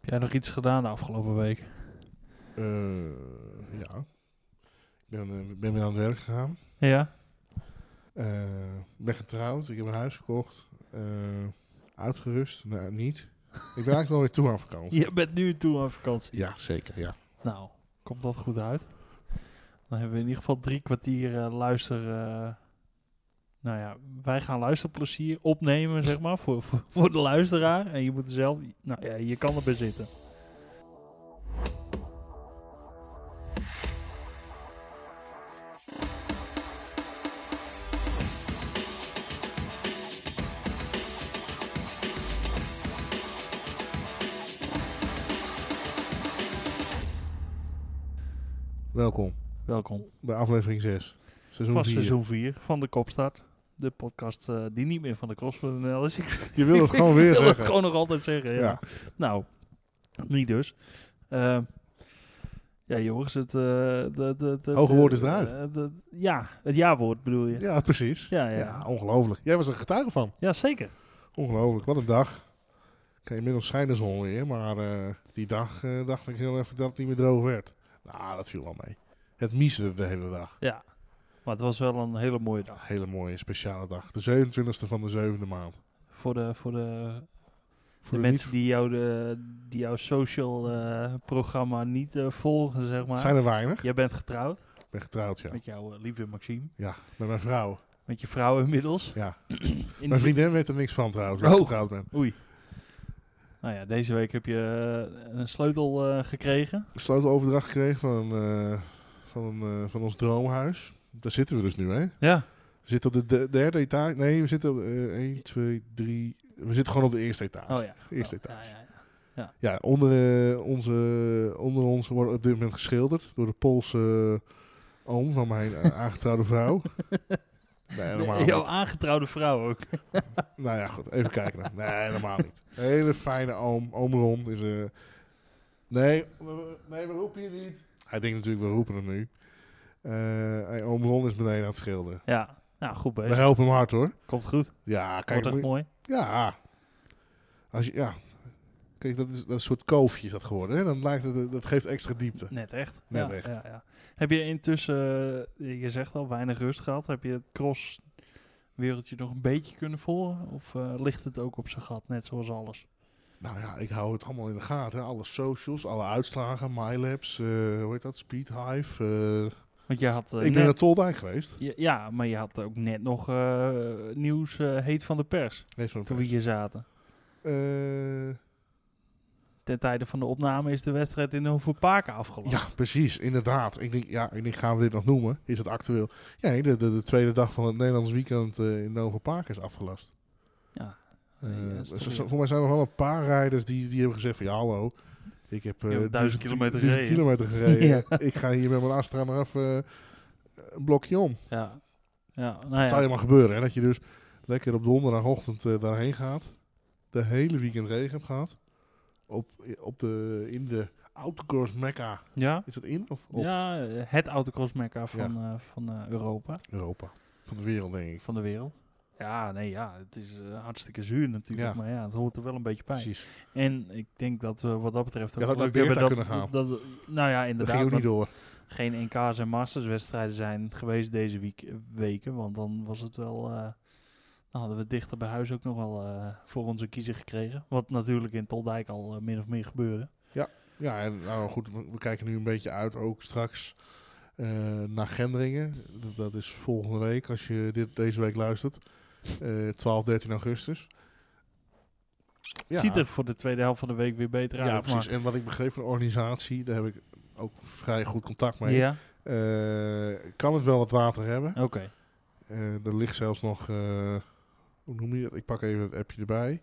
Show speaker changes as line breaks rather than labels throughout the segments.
Jij nog iets gedaan de afgelopen week?
Eh, ja. Ik ben, eh, ben weer aan het werk gegaan.
Ja.
Eh, Ik ben getrouwd. Ik heb een huis gekocht. Eh, uitgerust. Nou, niet. Ik ben eigenlijk wel weer toe aan vakantie.
Je bent nu toe aan vakantie.
Ja, zeker. Ja.
Nou, komt dat goed uit? Dan hebben we in ieder geval drie kwartier eh, luister. eh, nou ja, wij gaan luisterplezier opnemen, zeg maar, voor, voor, voor de luisteraar. En je moet er zelf. Nou ja, je kan erbij zitten.
Welkom
Welkom.
bij aflevering 6. Seizoen
Van
4.
seizoen 4 van de Kopstart. De podcast eh, die niet meer van de Cross.nl is. Ik
Je wil het gewoon weer
wil het
zeggen.
gewoon nog altijd zeggen. Ja.
Ja.
Nou, niet dus. Ehm, ja, jongens, het... eh, de, de, de,
Hoge
de-
woord is eruit.
eh, de- ja, het jaarwoord bedoel je. Ja,
ja, precies.
ja,
Ja,
ja.
ongelooflijk. Jij was er getuige van.
zeker.
Ongelooflijk. Wat een dag. Kijk, inmiddels schijnt de zon weer. Maar eh, die dag eh, dacht ik heel even dat het niet meer droog werd. Nou, dat viel wel mee. Het miesde de hele dag.
Ja. Maar het was wel een hele mooie
Een
dag.
hele mooie speciale dag. De 27e van de zevende maand.
Voor de, voor de,
Voor
de mensen die, jou de, die jouw social eh, programma niet eh, volgen, zeg maar.
Zijn er weinig?
Jij bent getrouwd
Ik ben getrouwd, ja.
met jouw eh, lieve Maxime.
Ja, met mijn vrouw.
Met je vrouw inmiddels.
Ja.
In
Mijn
die-
vriendin weet er niks van trouwens, dat ik
Oh.
getrouwd ben.
Oei. Nou ja, deze week heb je eh, een sleutel eh, gekregen.
Ik sleuteloverdracht gekregen van, eh, van, eh, van ons droomhuis. Daar zitten we dus nu, hè?
Ja.
We zitten op de de derde etage. Nee, we zitten op eh, 1, 2, 3... We zitten gewoon op de eerste etage.
Oh ja.
Eerste
Oh,
etage.
ja, ja, ja.
Ja, onder, eh, onze, onder ons wordt op dit moment geschilderd door de Poolse eh, oom van mijn eh, aangetrouwde vrouw. Nee, helemaal
Nee,
niet.
Jouw aangetrouwde vrouw ook.
Nou ja, goed. Even kijken. dan. Nee, helemaal niet. Hele fijne oom. Oom Ron is... eh, nee, we- nee, we roepen je niet. Hij denkt natuurlijk, we roepen hem nu. Eh, hey, oom Ron is beneden aan het schilderen.
Ja. Nou, goed
We
bezig.
helpen hem hard, hoor.
Komt goed.
Ja, kijk.
Wordt echt
moet je-
mooi.
ja. Als je, ja. Kijk, dat is, dat is een soort koofje is dat geworden. Hè? Dan lijkt het, dat geeft extra diepte.
Net echt.
Net
ja,
echt.
Ja, ja. Heb je intussen, eh, je zegt al, weinig rust gehad. Heb je het cross wereldje nog een beetje kunnen volgen? Of eh, ligt het ook op zijn gat, net zoals alles?
Nou ja, ik hou het allemaal in de gaten. hè. Alle socials, alle uitslagen, MyLabs, eh, hoe heet dat? Speedhive. eh.
Want je had eh,
ik ben naar
net...
Toldijk geweest.
Ja, ja, maar je had ook net nog eh, nieuws eh, heet van de pers.
Nee, van de
Toen we
pers.
hier zaten.
Eh,
Ten tijde van de opname is de wedstrijd in Hoevenpaken afgelopen.
Ja, precies, inderdaad. Ik denk, ja, ik denk, gaan we dit nog noemen? Is het actueel? Ja, nee, de, de, de tweede dag van het Nederlands weekend eh, in Nova Park is afgelast.
Ja.
Eh,
Nee, dat is toch
zo-
weer-
zo- voor mij zijn er nog wel een paar rijders die, die hebben gezegd van ja, hallo. Ik heb eh,
Je hebt duizend
duizend-
kilometer
duizend
gereden.
kilometer gereden. Ik ga hier met mijn Astra maar even eh, een blokje om.
Ja, ja nou
Dat
ja.
zou je maar gebeuren. Hè? Dat je dus lekker op donderdagochtend eh, daarheen gaat. De hele weekend regen hebt gehad. Op, eh, op de, in de Outcourse Mecca.
ja?
Is dat in of op?
Ja, het autocross mecca van, eh, van eh, Europa,
Europa. Van de wereld, denk ik.
van de wereld. Ja, nee, ja, het is eh, hartstikke zuur natuurlijk,
Ja.
maar ja, het hoort er wel een beetje bij.
Precies.
En ik denk dat we wat dat betreft
Je had ook
geluk
naar
hebben
Beerta
dat,
kunnen
dat, nou ja,
Dat
inderdaad,
ging ook niet
dat
door.
geen NK's en Masters wedstrijden zijn geweest deze week, eh, weken, want dan was het wel, eh, dan hadden we het dichter bij huis ook nog wel eh, voor onze kiezer gekregen, wat natuurlijk in Toldijk al eh, min of meer gebeurde.
Ja, en nou goed, we, we kijken nu een beetje uit ook straks eh, naar Gendringen. Dat, dat is volgende week, als je dit deze week luistert. Eh, 12, 13 augustus. Ja,
Ziet er voor de tweede helft van de week weer beter uit.
Ja,
maar-
precies. En wat ik begreep van de organisatie, daar heb ik ook vrij goed contact mee.
Ja,
Eh, kan het wel wat water hebben?
oké.
Eh, er ligt zelfs nog. eh, hoe noem je dat? Ik pak even het appje erbij.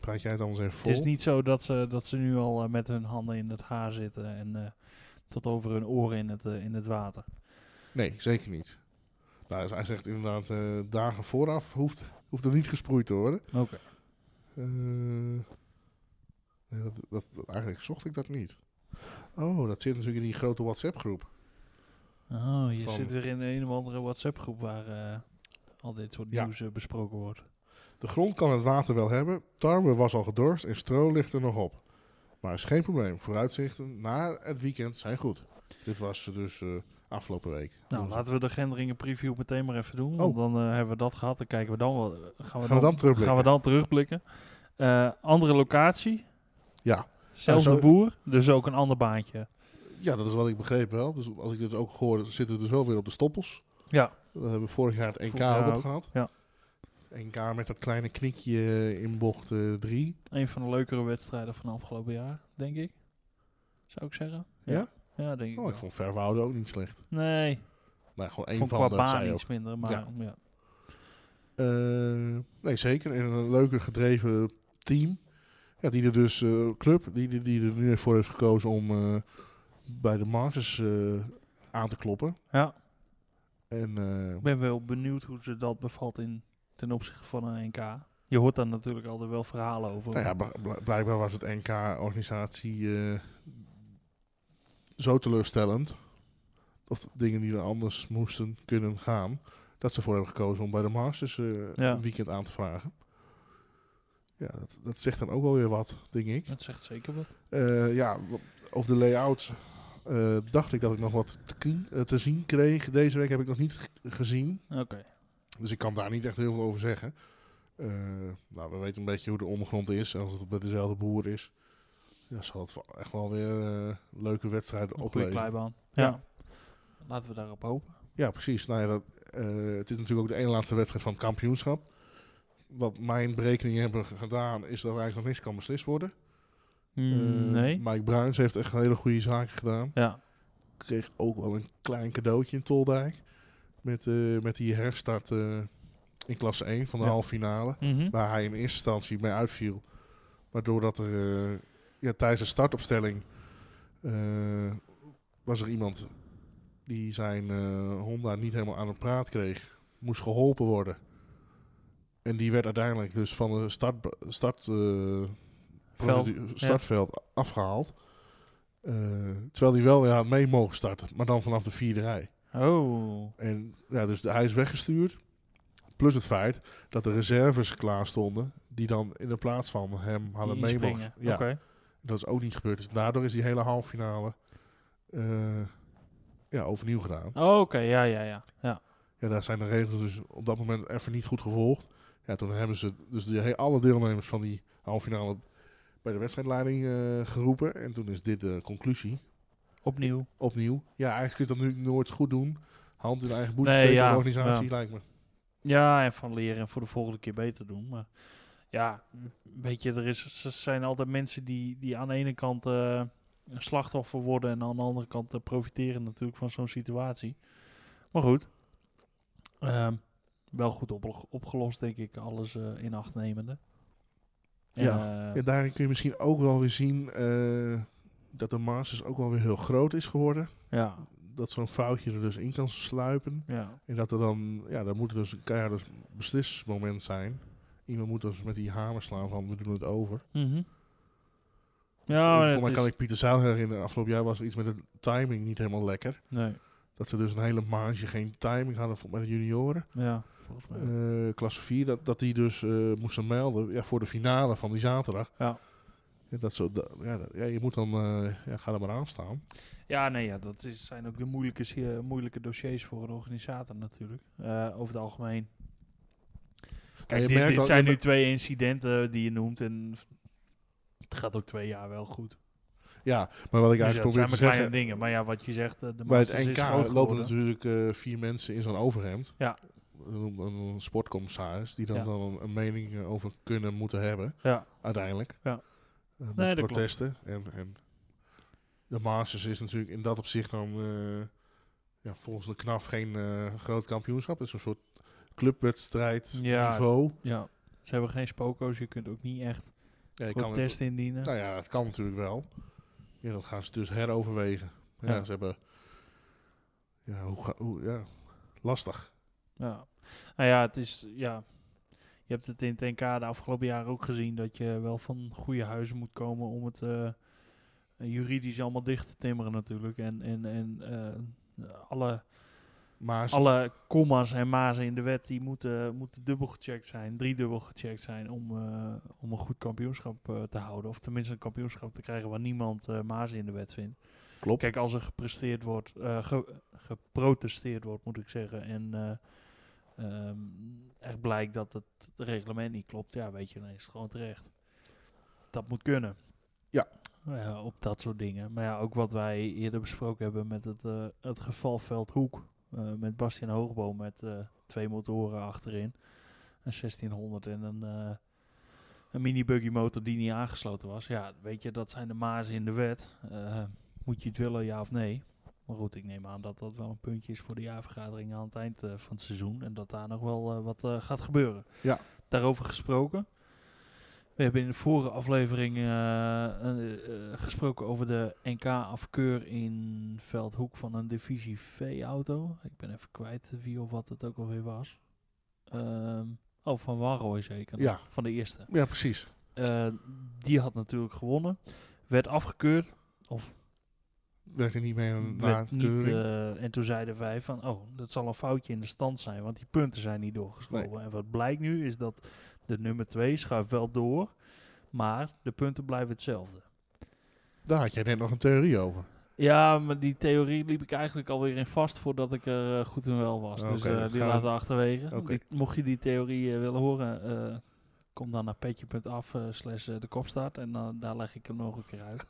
Praat jij het anders even
Het
vol?
is niet zo dat ze, dat ze nu al eh, met hun handen in het haar zitten en eh, tot over hun oren in het, eh, in het water.
Nee, zeker niet. Nou, hij zegt inderdaad, eh, dagen vooraf hoeft, hoeft er niet gesproeid te worden.
Oké.
Eh, nee, dat, dat, dat- eigenlijk zocht ik dat niet. Oh, dat zit natuurlijk in die grote WhatsApp-groep.
Oh, je
Van-
zit weer in een of andere WhatsApp groep waar eh, al dit soort
Ja.
nieuws eh, besproken wordt.
De grond kan het water wel hebben, tarwe was al gedorst en stro ligt er nog op. Maar is geen probleem, vooruitzichten na het weekend zijn goed. Dit was dus eh, afgelopen week.
Nou,
Woensdag.
laten we de Gendringen preview meteen maar even doen.
Oh.
Want dan eh, hebben we dat gehad. Dan kijken we dan wel. eh, Gaan we
Gaan we
dan,
dan terugblikken?
gaan we dan terugblikken. Eh, andere locatie.
Ja.
Zelfde
Nou, zo-
boer, dus ook een ander baantje.
Ja, dat is wat ik begreep wel. Dus als ik dit ook hoor, zitten we dus wel weer op de stoppels.
Ja.
Dat hebben we vorig jaar het NK
Vorig jaar
ook op
ook,
gehad.
ja.
NK met dat kleine knikje in bocht eh, 3.
Een van de leukere wedstrijden van afgelopen jaar, denk ik. Zou ik zeggen.
Ja?
Ja, denk ik.
oh, ik
wel.
vond Verwoude ook niet slecht.
Nee,
Maar gewoon
ik
één
vond
van
qua
de,
baan
zei ook.
iets minder. Maar
Ja.
ja.
Eh, nee, zeker. En een leuke gedreven team. Ja, die er dus, eh, club, die, die, die er nu voor heeft gekozen om eh, bij de Masters eh, aan te kloppen.
Ja.
En eh,
ik ben wel benieuwd hoe ze dat bevalt in, ten opzichte van een NK. Je hoort daar natuurlijk altijd wel verhalen over.
nou ja, bl- bl- blijkbaar was het NK-organisatie eh, zo teleurstellend. Of de dingen die er anders moesten kunnen gaan. Dat ze ervoor hebben gekozen om bij de Masters eh,
Ja.
een weekend aan te vragen. Ja, dat, dat zegt dan ook wel weer wat, denk ik.
Dat zegt zeker wat.
Eh, ja, w- over de layout eh, dacht ik dat ik nog wat te, kien- eh, te zien kreeg. Deze week heb ik nog niet g- gezien,
Oké.
dus ik kan daar niet echt heel veel over zeggen. Eh, nou, we weten een beetje hoe de ondergrond is. En als het bij dezelfde boer is, ja, zal het wel- echt wel weer eh, leuke wedstrijden
Een goede
opleveren.
kleibaan.
Ja.
Ja. Laten we daarop hopen.
Ja, precies. Nou ja, dat, eh, het is natuurlijk ook de ene laatste wedstrijd van het kampioenschap. Wat mijn berekeningen hebben g- gedaan, is dat er eigenlijk nog niks kan beslist worden. Eh,
Mm, nee.
Mike Bruins heeft echt hele goede zaken gedaan.
Ja.
kreeg ook wel een klein cadeautje in Toldijk. Met, eh, met die herstart eh, in klasse 1 van de
Ja.
halve finale.
Mhm.
Waar hij in eerste instantie mee uitviel. Waardoor dat er eh, ja, tijdens de startopstelling eh, was er iemand die zijn eh, Honda niet helemaal aan het praat kreeg. Moest geholpen worden. En die werd uiteindelijk dus van de start, start, eh,
Veld,
procedu- startveld afgehaald. Eh, terwijl hij wel weer had mee mogen starten, maar dan vanaf de vierde rij.
Oh.
En ja, dus de- hij is weggestuurd. Plus het feit dat de reserves klaar stonden, die dan in de plaats van hem hadden
Die
mee mogen.
inspringen.
Ja,
Oké.
dat is ook niet gebeurd. Dus daardoor is die hele halve finale eh, ja, overnieuw gedaan.
Oh, Oké, ja, ja, ja. ja.
Ja, daar zijn de regels dus op dat moment even niet goed gevolgd. Ja, toen hebben ze dus de, he- alle deelnemers van die halve finale bij de wedstrijdleiding eh, geroepen. En toen is dit de conclusie.
Opnieuw.
Opnieuw. Ja, eigenlijk kun je dat nu nooit goed doen. Hand in eigen boezem
Nee,
steken als
ja,
organisatie, lijkt me.
Ja, en van leren en voor de volgende keer beter doen. Maar ja, weet je, er, is, er zijn altijd mensen die, die aan de ene kant eh, een slachtoffer worden en aan de andere kant eh, profiteren natuurlijk van zo'n situatie. Maar goed, ehm, wel goed op, opgelost, denk ik, alles eh, in acht nemende. En, eh,
Ja, daarin kun je misschien ook wel weer zien eh, dat de Masters ook wel weer heel groot is geworden.
ja,
Dat zo'n foutje er dus in kan sluipen.
ja,
En dat er dan, ja, daar moet dus een keihard beslismoment zijn. Iemand moet dus met die hamer slaan van, we doen het over.
Mhm.
Ik-
ja.
Volgens Dus mij
het
kan
is-
ik Pieter Zijl herinneren. Afgelopen jaar was er iets met de timing niet helemaal lekker.
Nee,
Dat ze dus een hele maandje geen timing hadden voor- met de junioren.
ja, volgens mij.
Eh, klasse 4, dat, dat die dus eh, moesten melden ja, voor de finale van die zaterdag.
Ja.
Ja, dat zo, dat- ja, dat- ja, je moet dan, eh, ja, ga er maar aan staan.
Ja, nee, ja, dat is, zijn ook de moeilijke, si- eh, moeilijke dossiers voor een organisator natuurlijk. Eh, over het algemeen.
En je
Kijk, dit,
merkt
dit
al-
zijn
je
nu twee incidenten die je noemt en het gaat ook twee jaar wel goed.
Ja, maar wat
Dus
ik
ja,
eigenlijk
het
probeer
zijn
te
maar kleine
zeggen...
dingen. Maar ja, wat je zegt, eh, de
Bij het
Masters is groot
NK lopen
geworden.
natuurlijk eh, vier mensen in zo'n overhemd.
Ja.
Een, een sportcommissaris die dan,
Ja.
dan een, een mening eh, over kunnen moeten hebben,
Ja,
uiteindelijk.
Ja.
Eh, met
Nee, dat
protesten. En, en de Masters is natuurlijk in dat opzicht dan eh, ja, volgens de KNAF geen eh, groot kampioenschap. Het is een soort clubwedstrijd
Ja.
niveau.
ja, ze hebben geen spoko's. Je kunt ook niet echt
Ja, je kan het-
protest indienen.
nou ja, dat kan natuurlijk wel. Ja, dat gaan ze dus heroverwegen. Ja,
Ja.
ze hebben... Ja, hoe, ga- hoe, ja, lastig.
Ja. Nou ja, het is, ja. Je hebt het in het NK de afgelopen jaren ook gezien dat je wel van goede huizen moet komen om het eh, juridisch allemaal dicht te timmeren natuurlijk. En, en, en eh, alle
Maar ze-
Alle commas en mazen in de wet die moeten, moeten dubbel gecheckt zijn, driedubbel gecheckt zijn om, eh, om een goed kampioenschap eh, te houden. Of tenminste een kampioenschap te krijgen waar niemand eh mazen in de wet vindt.
Klopt.
Kijk, als er gepresteerd wordt, eh, ge- geprotesteerd wordt, moet ik zeggen. En eh, ehm, echt blijkt dat het reglement niet klopt. Ja, weet je, dan is het gewoon terecht. Dat moet kunnen. Nou
Ja.
Ja, op dat soort dingen. Maar ja, ook wat wij eerder besproken hebben met het, eh, het geval Veldhoek. eh, met Bastian Hoogboom met eh, twee motoren achterin. Een 1600 en een, eh, een mini-buggy motor die niet aangesloten was. Ja, weet je, dat zijn de mazen in de wet. Eh, moet je het willen, ja of nee? Maar goed, ik neem aan dat dat wel een puntje is voor de jaarvergadering aan het eind eh, van het seizoen. En dat daar nog wel eh, wat eh, gaat gebeuren.
Ja.
Daarover gesproken. We hebben in de vorige aflevering eh, eh, eh, gesproken over de NK-afkeur in Veldhoek van een divisie V-auto. Ik ben even kwijt wie of wat het ook alweer was. Ehm, oh, van Warrooy zeker. nog,
Ja.
Van de eerste.
ja, precies.
Eh, die had natuurlijk gewonnen. Werd afgekeurd. Of
Werkt er niet mee aan
werd
na
niet, eh, en toen zeiden wij van, oh, dat zal een foutje in de stand zijn, want die punten zijn niet doorgeschoven. En wat blijkt nu is dat de nummer 2 schuift wel door, maar de punten blijven hetzelfde.
Daar had jij net nog een theorie over.
Ja, maar die theorie liep ik eigenlijk alweer in vast voordat ik er eh, goed en wel was.
Oké,
dus eh,
dat
die
gaan we-
laten we achterwege.
Oké.
Die- mocht je die theorie eh, willen horen, eh, kom dan naar petje.af eh, slash eh, de kopstaart en dan daar leg ik hem nog een keer uit.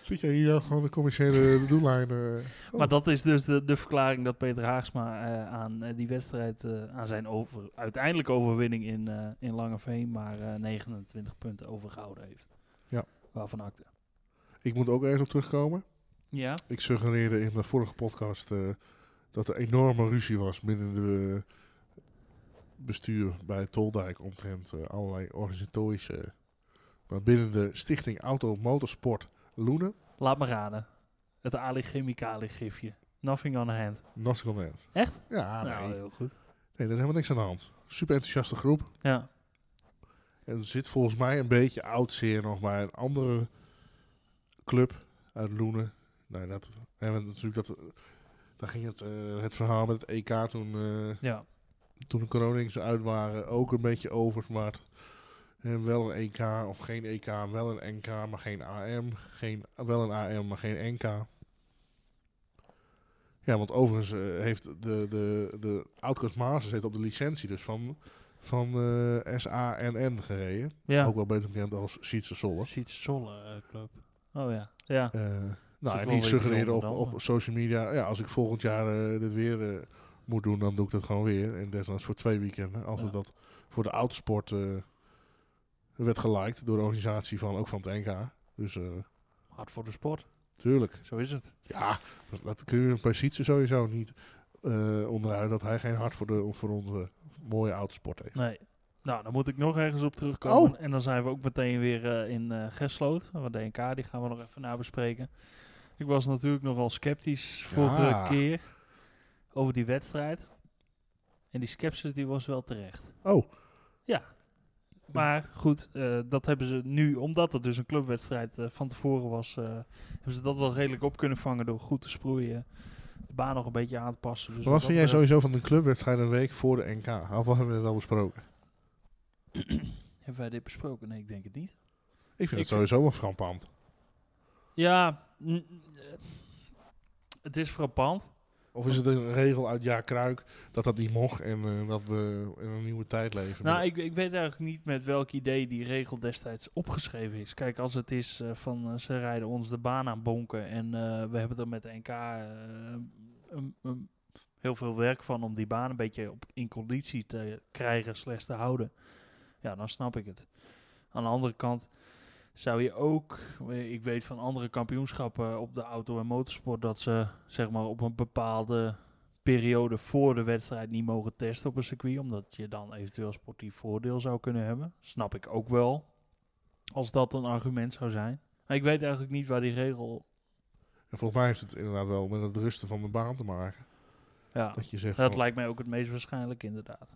Zit jij hier wel gewoon de commerciële doellijn? eh, Oh.
Maar dat is dus de, de verklaring dat Peter Haagsma eh, aan eh, die wedstrijd, eh, aan zijn over, uiteindelijke overwinning in, eh in Langeveen, maar eh, 29 punten overgehouden heeft.
Ja.
Waarvan acte.
ik moet ook ergens op terugkomen.
Ja.
Ik suggereerde in mijn vorige podcast eh, dat er enorme ruzie was binnen de eh, bestuur bij Toldijk omtrent eh, allerlei organisatorische. Maar binnen de stichting Auto Motorsport Loenen,
Laat me raden. Het Ali Chemicali gifje. Nothing on hand.
Nasser Content.
Echt?
Ja, nee.
nou,
nee,
heel goed.
daar is helemaal niks aan de hand. Super enthousiaste groep.
Ja.
En er zit volgens mij een beetje oud zeer nog bij een andere club uit Loenen. Nou, dat, en met natuurlijk dat, eh, daar ging het, eh, het verhaal met het EK toen, eh,
ja.
toen de coronings uit waren ook een beetje over. Maar eh, wel een EK of geen EK, wel een NK, maar geen AM. Geen, wel een AM, maar geen NK. Ja, want overigens eh, heeft de, de, de Outcast Masters heeft op de licentie dus van, van eh SANN gereden.
Ja.
Ook wel beter bekend als Sietse Solle.
Siets Zolle eh, Club. Oh ja. Ja.
Eh,
wel
nou, en
weer
die suggereerde
bijzonder
op,
dan, eh?
op
maar-
social media... Ja, als ik volgend jaar eh, dit weer eh, moet doen, dan doe ik dat gewoon weer. En desnoods voor twee weekenden. Als
Ja.
we dat voor de autosport eh werd geliked door de organisatie van, ook van het NK. Dus eh,
Hard voor de sport.
tuurlijk.
Zo is het.
Ja, dat kun je bij Sietse sowieso niet eh, onderuit... dat hij geen hart voor, de, voor onze mooie autosport heeft.
Nee. Nou, dan moet ik nog ergens op terugkomen.
Oh.
En dan zijn we ook meteen weer eh, in eh Gesloot. Want DNK, die gaan we nog even nabespreken. Ik was natuurlijk nogal sceptisch vorige
Ja.
keer over die wedstrijd. En die sceptisch die was wel terecht.
Oh,
Maar goed, eh, dat hebben ze nu, omdat het dus een clubwedstrijd eh, van tevoren was, eh, hebben ze dat wel redelijk op kunnen vangen door goed te sproeien. De baan nog een beetje aan te passen. Dus
maar
wat
wat
dat
vind jij
betreft-
sowieso van een clubwedstrijd een week voor de NK? Of wat hebben we dat al besproken?
Hebben wij dit besproken? Nee, ik denk het niet.
Ik vind
Ik-
het sowieso wel frappant.
Ja, n- eh, het is frappant.
Of is het een regel uit jaar Kruik dat dat niet mocht en eh, dat we in een nieuwe tijd leven?
Nou, ik, ik weet eigenlijk niet met welk idee die regel destijds opgeschreven is. Kijk, als het is eh, van eh, ze rijden ons de baan aan bonken en eh, we hebben er met de NK eh, een- een- heel veel werk van om die baan een beetje op, in conditie te krijgen, slechts te houden. Ja, dan snap ik het. Aan de andere kant zou je ook, eh, ik weet van andere kampioenschappen op de auto- en motorsport, dat ze zeg maar op een bepaalde periode voor de wedstrijd niet mogen testen op een circuit, omdat je dan eventueel sportief voordeel zou kunnen hebben. Snap ik ook wel, als dat een argument zou zijn. Maar ik weet eigenlijk niet waar die regel...
en volgens mij heeft het inderdaad wel met het rusten van de baan te maken.
Ja,
Dat je zegt,
dat
van,
lijkt mij ook het meest waarschijnlijk inderdaad.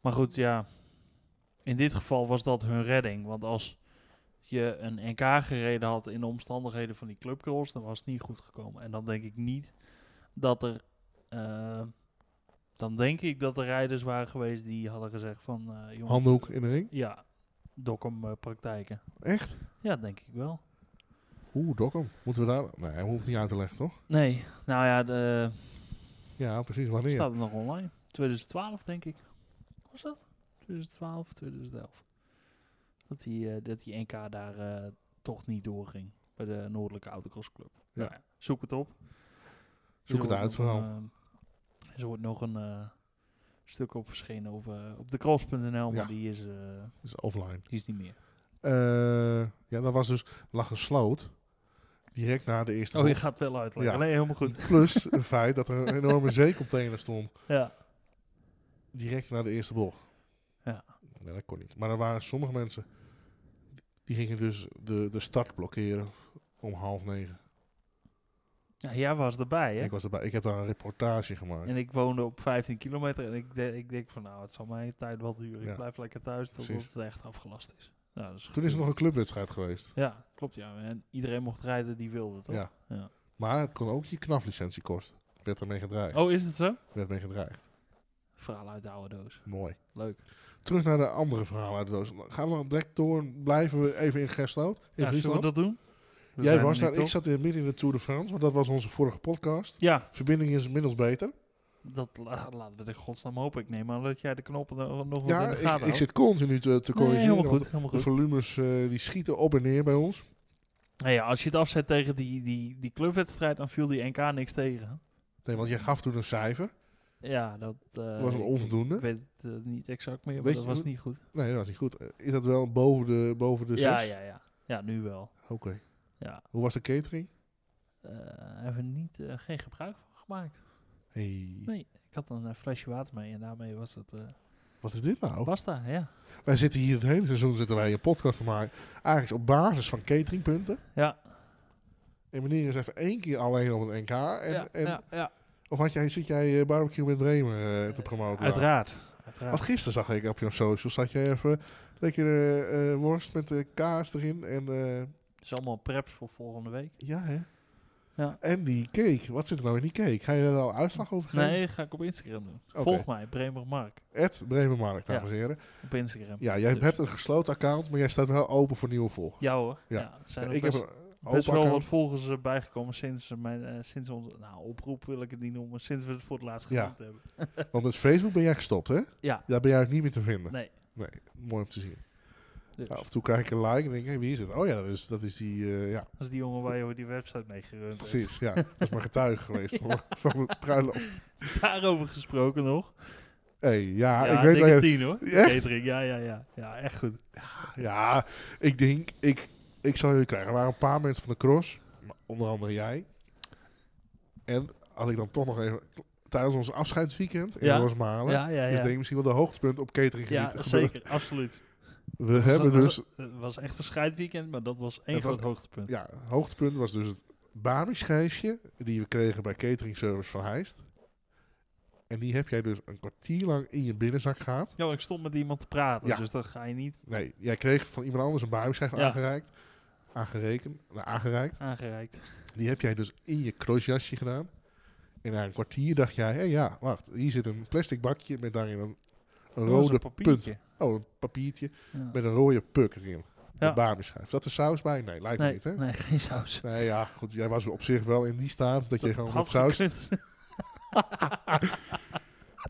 Maar goed, ja. In dit geval was dat hun redding, want als je een NK gereden had in de omstandigheden van die clubcross, dan was het niet goed gekomen. En dan denk ik niet dat er eh, dan denk ik dat er rijders waren geweest die hadden gezegd van... eh, jongens,
Handdoek in de ring.
Ja, dokom eh, praktijken.
Echt?
Ja, denk ik wel.
Oeh, Dokkum. Moeten we daar... Nee, hoeft niet uit te leggen, toch?
Nee, nou ja, de,
Ja, precies. Wanneer?
staat het nog online. 2012 denk ik. Was dat? 2012, 2011. Dat die, eh, dat die NK daar eh, toch niet doorging. Bij de Noordelijke Autocross Club.
Ja.
Nou zoek het op.
Zoek het
wordt
uit
nog een,
vooral.
eh, er wordt nog een eh, stuk op verschenen over, op decross.nl, maar
Ja.
die, is, eh,
Dat is offline.
die is niet meer.
Eh, ja, dat was dus... lag een sloot. Direct na de eerste
Oh, je
bocht.
gaat het wel uitleggen.
Ja.
Nee, helemaal goed.
Plus het feit dat er een enorme zeecontainer stond.
Ja.
Direct na de eerste bocht.
Ja.
Nee, dat kon niet. Maar er waren sommige mensen... Die gingen dus de, de start blokkeren om half negen.
ja, jij was erbij, hè?
Ik was erbij. Ik heb daar een reportage gemaakt.
En ik woonde op 15 kilometer en ik, de- ik denk van nou, het zal mijn tijd wel duren.
Ja.
Ik blijf lekker thuis totdat
Precies.
het echt afgelast is. Nou, dat
Toen is er
goed.
nog een clubwedstrijd geweest.
Ja, klopt ja. En iedereen mocht rijden die wilde, toch?
Ja.
Ja.
Maar het kon ook je knaflicentie kosten. Werd ermee gedreigd.
Oh, is het zo?
Werd mee gedreigd.
Verhaal uit de oude doos.
Mooi.
Leuk.
Terug naar de andere verhalen uit de doos. Gaan we dan direct door? en Blijven we even in Gersthout? In
Ja, zullen we
Friesland?
dat doen? We zijn
Jij
er
was
nu,
daar. Ik
toch?
zat in midden in de Tour de France. Want dat was onze vorige podcast.
Ja,
Verbinding is inmiddels beter.
dat la- laten we de godsnaam hopen. Ik neem aan dat jij de knoppen nog nog wat in
Ja,
de gaten
ik, ik
houdt.
zit continu te, te
nou? Nee,
corrigeren.
helemaal
want
goed, helemaal
De
goed.
volumes eh, die schieten op en neer bij ons.
Nou ja, als je het afzet tegen die, die, die clubwedstrijd, dan viel die NK niks tegen.
Nee, want jij gaf toen een cijfer.
Ja, dat... eh,
Dat was een
ik- Ik
onvoldoende.
weet het eh, niet exact meer, maar
Weet
dat
je
was
hoe-
niet goed.
Nee, dat was niet goed. Eh, Is dat wel boven de, boven de
ja,
zes?
ja, ja. Ja, nu wel.
Oké.
Ja.
Hoe was de catering?
Eh, hebben we niet, eh, geen gebruik van gemaakt.
Hey,
Nee, ik had een eh, flesje water mee en daarmee was het eh
wat is dit nou?
pasta, ja.
Wij zitten hier het hele seizoen zitten wij een podcast te maken. Eigenlijk op basis van cateringpunten.
Ja,
En meneer is even één keer alleen op het NK. En,
ja,
en,
ja, ja.
Of had jij, zit jij eh, barbecue met Bremen eh, te promoten? daar?
Uiteraard.
Want
Uiteraard.
gisteren zag ik op jouw socials dat jij even lekker eh, eh, worst met eh, kaas erin. En eh,
Het is allemaal preps voor volgende week.
ja, hè?
Ja.
En die cake. Wat zit er nou in die cake? Ga je daar al uitslag over geven?
Nee, dat ga ik op Instagram doen.
Oké.
Volg mij, Bremer Mark,
Ed Bremenmarkt,
Ja.
dames en heren.
op Instagram. Ja,
Ja, jij
Dus.
hebt een gesloten account, maar jij staat wel open voor nieuwe volgers.
hoor.
Ja.
Ja. er zijn
Ja,
er
ik heb
best,
een open
best wel wat
account.
volgers eh, bijgekomen sinds, eh, mijn, eh, sinds onze nou, oproep wil ik het niet noemen, sinds we het voor het laatst
Ja.
genoemd hebben.
Want met Facebook ben jij gestopt, hè?
Ja,
Daar ben jij ook niet meer te vinden.
nee.
Nee, mooi om te zien.
Dus.
Ja, af en toe krijg ik een like en denk ik, hé, wie is het? Oh ja, dat is, dat is die, eh, ja,
Dat is die jongen waar je Oh, die website mee gerund hebt.
precies. Ja, dat is mijn getuige geweest van, van mijn bruiloft.
Daarover gesproken nog.
hey, ja,
ja,
ik weet
dikke
dat je...
tien hoor.
Echt?
Catering, ja, ja, ja. Ja, echt goed.
Ja, ik denk, ik, ik zal jullie krijgen. Er waren een paar mensen van de cross, maar onder andere jij. En als ik dan toch nog even, tijdens ons afscheidsweekend in
Ja.
Rosmalen,
Ja, ja,
is
ja.
Dus denk ik misschien wel de hoogtepunt op catering
ja, zeker, absoluut.
We hebben
was,
dus,
Het was echt een scheidweekend, maar dat was één
Het was-
groot hoogtepunt.
ja, hoogtepunt was dus het Bami-schijfje die we kregen bij catering service van Heist. En die heb jij dus een kwartier lang in je binnenzak gehad.
Ja, want ik stond met iemand te praten,
Ja.
dus dat ga je niet
Nee, jij kreeg van iemand anders een Bami-schijf
Ja.
aangereikt. Aangereken, nou, aangereikt.
aangereikt.
Die heb jij dus in je crossjasje gedaan. En na een kwartier dacht jij, hé ja, wacht, hier zit een plastic bakje met daarin een, een
Roze
rode punt.
papiertje.
Oh, een papiertje
Ja.
met een rode puk erin. De
Ja.
Bami-schijf. Dat er saus bij? Nee, lijkt me
Nee,
niet, hè?
nee, geen saus.
Nee, ja, goed. Jij was op zich wel in die staat dat je gewoon met
Had
saus...
gekund.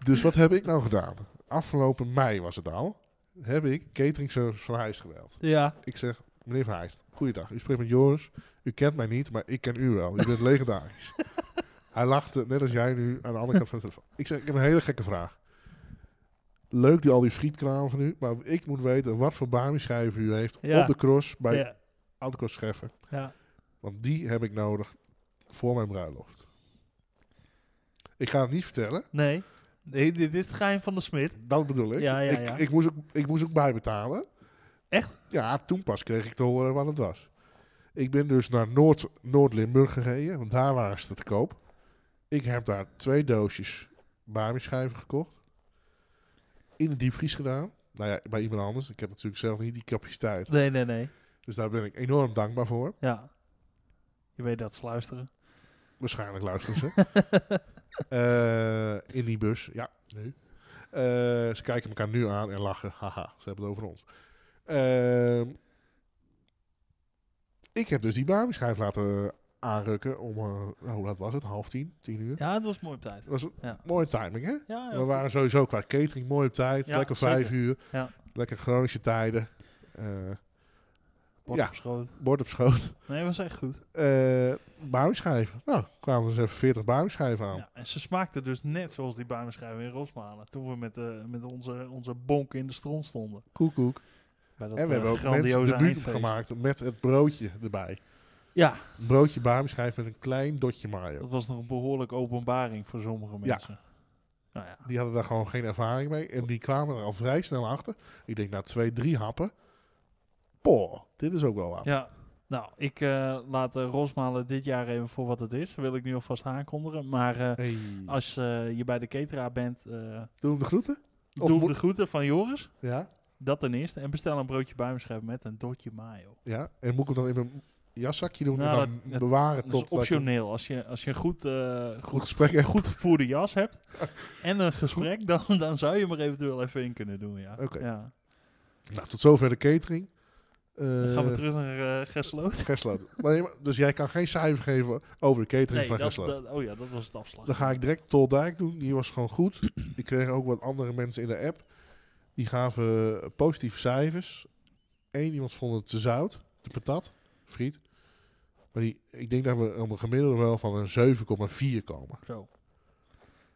Dus wat heb ik nou gedaan? Afgelopen mei was het al. Heb ik catering service van Heijst gebeld.
Ja,
Ik zeg, meneer Van Heijst, goeiedag. U spreekt met Joris. U kent mij niet, maar ik ken u wel. U bent legendarisch. Hij lachte, net als jij nu, aan de andere kant van de telefoon. Ik zeg, ik heb een hele gekke vraag. Leuk die al die frietkraam van u, maar ik moet weten wat voor bami-schijven u heeft
Ja.
op de cross bij
ja,
Autocross Scheffen.
ja.
Want die heb ik nodig voor mijn bruiloft. Ik ga het niet vertellen.
Nee. nee, dit is het geheim van de smid.
Dat bedoel ik.
Ja, ja,
ik,
ja.
Ik, moest ook, ik moest ook bijbetalen.
Echt?
Ja, toen pas kreeg ik te horen wat het was. Ik ben dus naar Noord, Noord-Limburg gereden, want daar waren ze te koop. Ik heb daar twee doosjes barmieschijven gekocht. In de diepvries gedaan. Nou ja, bij iemand anders. Ik heb natuurlijk zelf niet die capaciteit.
Nee, nee, nee.
Dus daar ben ik enorm dankbaar voor.
Ja. Je weet dat ze luisteren.
Waarschijnlijk luisteren ze. Eh, in die bus, ja, nu. Eh, ze kijken elkaar nu aan en lachen. Haha, ze hebben het over ons. Ehm, ik heb dus die Barbie-schijf laten aanrukken om, eh, hoe laat was het? Half tien, tien uur.
Ja, het was mooi op tijd.
Dat was een
Ja.
mooie timing, hè?
Ja,
We waren sowieso qua catering mooi op tijd.
Ja,
lekker vijf
zeker.
uur.
Ja.
Lekker Groningse tijden. Eh
Bord
ja.
op schoot.
bord op schoot.
Nee, was echt goed.
Eh Barbie-schijven. Nou, kwamen dus even 40 Barbie-schijven aan.
Ja, en ze smaakte dus net zoals die bijmeschrijving in Rosmalen. Toen we met, eh, met onze, onze bonk in de stront stonden.
Koek, koek.
Bij dat,
en we
eh,
hebben ook mensen
grandioze
de buurt
eindfeest.
gemaakt met het broodje erbij.
Ja,
Een broodje Barbie-schijf met een klein dotje mayo.
dat was nog een behoorlijke openbaring voor sommige mensen. Nou ja.
Die hadden daar gewoon geen ervaring mee. En die kwamen er al vrij snel achter. Ik denk na twee, drie happen. Poh, dit is ook wel wat.
Ja, nou, ik eh, laat eh, Rosmalen dit jaar even voor wat het is. Dat wil ik nu alvast aankondigen. Maar eh,
Hey,
als eh, je bij de cateraar bent, eh,
Doen we de groeten? Of
doe
moet-
de groeten van Joris.
Ja,
Dat ten eerste. En bestel een broodje buimschrijf met een dotje mayo.
ja. En moet ik hem dan in mijn jaszakje doen
Nou,
en dan
dat-
bewaren
Dat
tot
is
dat ik een
optioneel. Als je, als je een goed, eh,
goed
goed,
gesprek heb.
goed gevoerde jas hebt en een gesprek, dan, dan zou je maar eventueel even in kunnen doen, ja.
Oké.
Ja.
Nou, tot zover de catering. Eh,
Dan gaan we terug naar eh Gesloot.
Gersloot. Nee, maar- dus jij kan geen cijfer geven over de catering
Nee,
van
dat,
Gersloot.
dat, oh ja, dat was het afslag.
Dan ga ik direct Toldijk doen. Die was gewoon goed. Ik kreeg ook wat andere mensen in de app. Die gaven eh, positieve cijfers. Eén iemand vond het te zout. De patat. Friet. Maar die, ik denk dat we om een gemiddelde wel van een 7,4 komen.
Zo.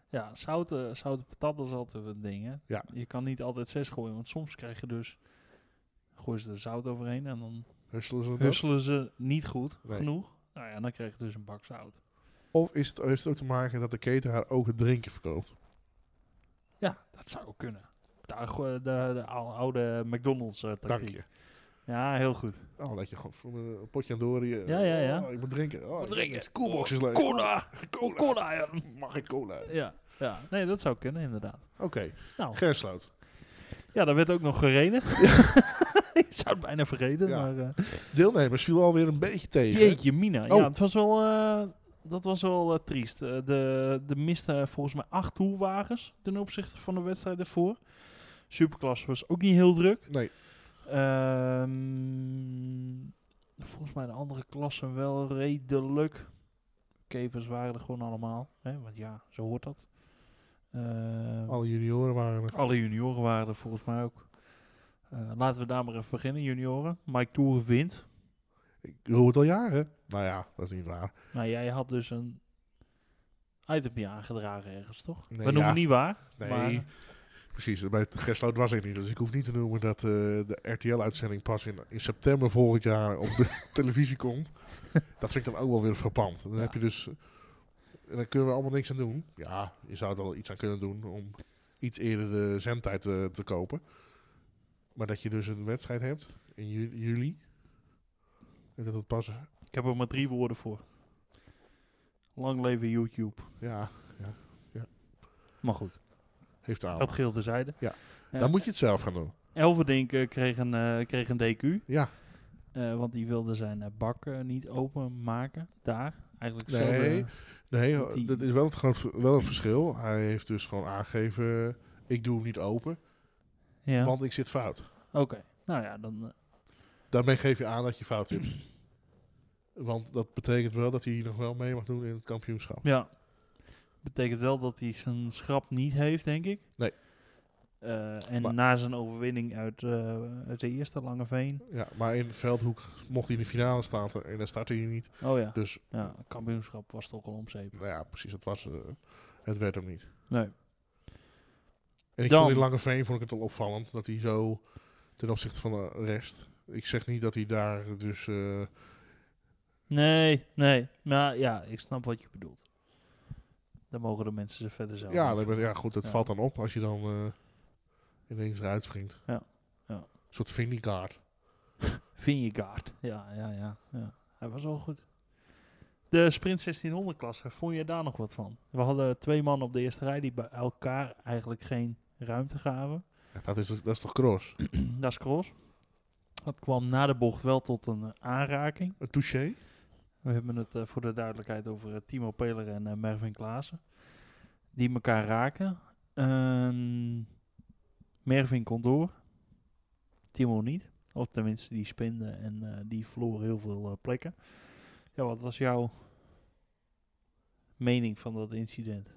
Ja, zouten, zouten patat is altijd een ding, hè?
Ja.
Je kan niet altijd zes gooien, want soms krijg je dus... Gooien ze er zout overheen en dan
Husselen ze Dus dat?
husselen ze niet goed
Nee.
genoeg. Nou ja, dan krijg je dus een bak zout.
Of is het, heeft het ook te maken dat de cateraar ook het drinken verkoopt?
Ja, dat zou ook kunnen. Daar, go- de, de ou- oude McDonald's eh,
Dank
tactiek.
je.
Ja, heel goed.
Oh, dat je gewoon voor een potje aan doorrie. eh,
Ja, ja, ja.
Oh, ik moet drinken. Oh,
Wat drinken?
Coolbox is leuk.
Cola!
Cola.
Cola, Nou ja.
Mag ik cola? Oké.
ja. Ja, nee, dat zou kunnen, inderdaad. Nou,
Gersloot.
ja, daar werd ook nog gereden. Ik zou het bijna vergeten,
Ja.
maar... eh,
Deelnemers viel alweer een beetje tegen.
Jeetje, Mina.
Oh.
Ja, het was wel, eh, dat was wel eh, triest. Eh, de, de miste volgens mij acht toerwagens ten opzichte van de wedstrijd ervoor. Superklasse was ook niet heel druk.
Nee.
Ehm, volgens mij de andere klassen wel redelijk. Kevers waren er gewoon allemaal. Hè? Want ja, zo hoort dat. Ehm,
Alle junioren waren er.
alle junioren waren er volgens mij ook. Eh, laten we daar maar even beginnen, junioren. Mike Toeren wint.
Ik roep het al jaren. Nou ja, dat is niet waar.
Nou, jij had dus een itemje aangedragen ergens, toch?
Nee,
We noemen
ja.
niet waar.
Nee,
Maar,
precies. Bij het Gersloot was ik niet. Dus ik hoef niet te noemen dat eh, de RTL-uitzending pas in, in september volgend jaar op de televisie komt. Dat vind ik dan ook wel weer frappant. Dan
Ja.
heb je dus... En dan kunnen we allemaal niks aan doen. Ja, je zou er wel iets aan kunnen doen om iets eerder de zendtijd eh, te kopen. Maar dat je dus een wedstrijd hebt in ju- juli. En dat het pas...
ik heb er maar drie woorden voor. Lang leven YouTube.
Ja,
Maar goed,
heeft aan.
dat geel terzijde.
Ja,
Eh,
Dan moet je het zelf gaan doen.
Elverdink eh, kreeg een, eh, kreeg een DQ.
Ja,
eh, want die wilde zijn eh, bak eh, niet openmaken. Daar. Eigenlijk zo.
Nee.
eh,
nee,
Want die-
dat is wel, het groot, wel een verschil. Hij heeft dus gewoon aangegeven, eh, ik doe hem niet open,
ja. Oké.
want ik zit fout.
Nou ja, dan. eh,
Daarmee geef je aan dat je fout zit. Want dat betekent wel dat hij nog wel mee mag doen in het kampioenschap.
Ja. Betekent wel dat hij zijn schrap niet heeft, denk ik.
Nee.
Eh, en
Maar-
na zijn overwinning uit, eh, uit de eerste lange veen.
Ja, maar in Veldhoek mocht hij in de finale staan en daar startte hij niet.
Oh ja.
Dus
Ja, kampioenschap was toch al omzeep.
nou ja, precies, het, was, eh, het werd hem niet.
Nee.
En ik
Dan-
vond in Lange Veen vond ik het al opvallend dat hij zo ten opzichte van de rest... Ik zeg niet dat hij daar dus... eh,
Nee, nee. Maar ja, ik snap wat je bedoelt. Dan mogen de mensen ze verder zelf.
Ja,
niet
dat,
van-
ben- ja goed, dat
Ja.
valt dan op als je dan eh, ineens eruit springt.
Ja, ja.
Een soort vindicaat.
Vingegaard. Ja, ja, ja, ja. Hij was al goed. De sprint 1600 klasse, vond je daar nog wat van? We hadden twee mannen op de eerste rij die bij elkaar eigenlijk geen ruimte gaven.
Ja, dat, is, dat is toch cross?
dat is cross. Dat kwam na de bocht wel tot een eh, aanraking.
Een touché?
We hebben het eh, voor de duidelijkheid over eh, Timo Peler en eh, Mervin Klaassen. Die elkaar raken. Ehm, Mervin kon door. Timo niet. Of tenminste, die spinde en eh, die verloor heel veel eh, plekken. Ja, wat was jouw mening van dat incident?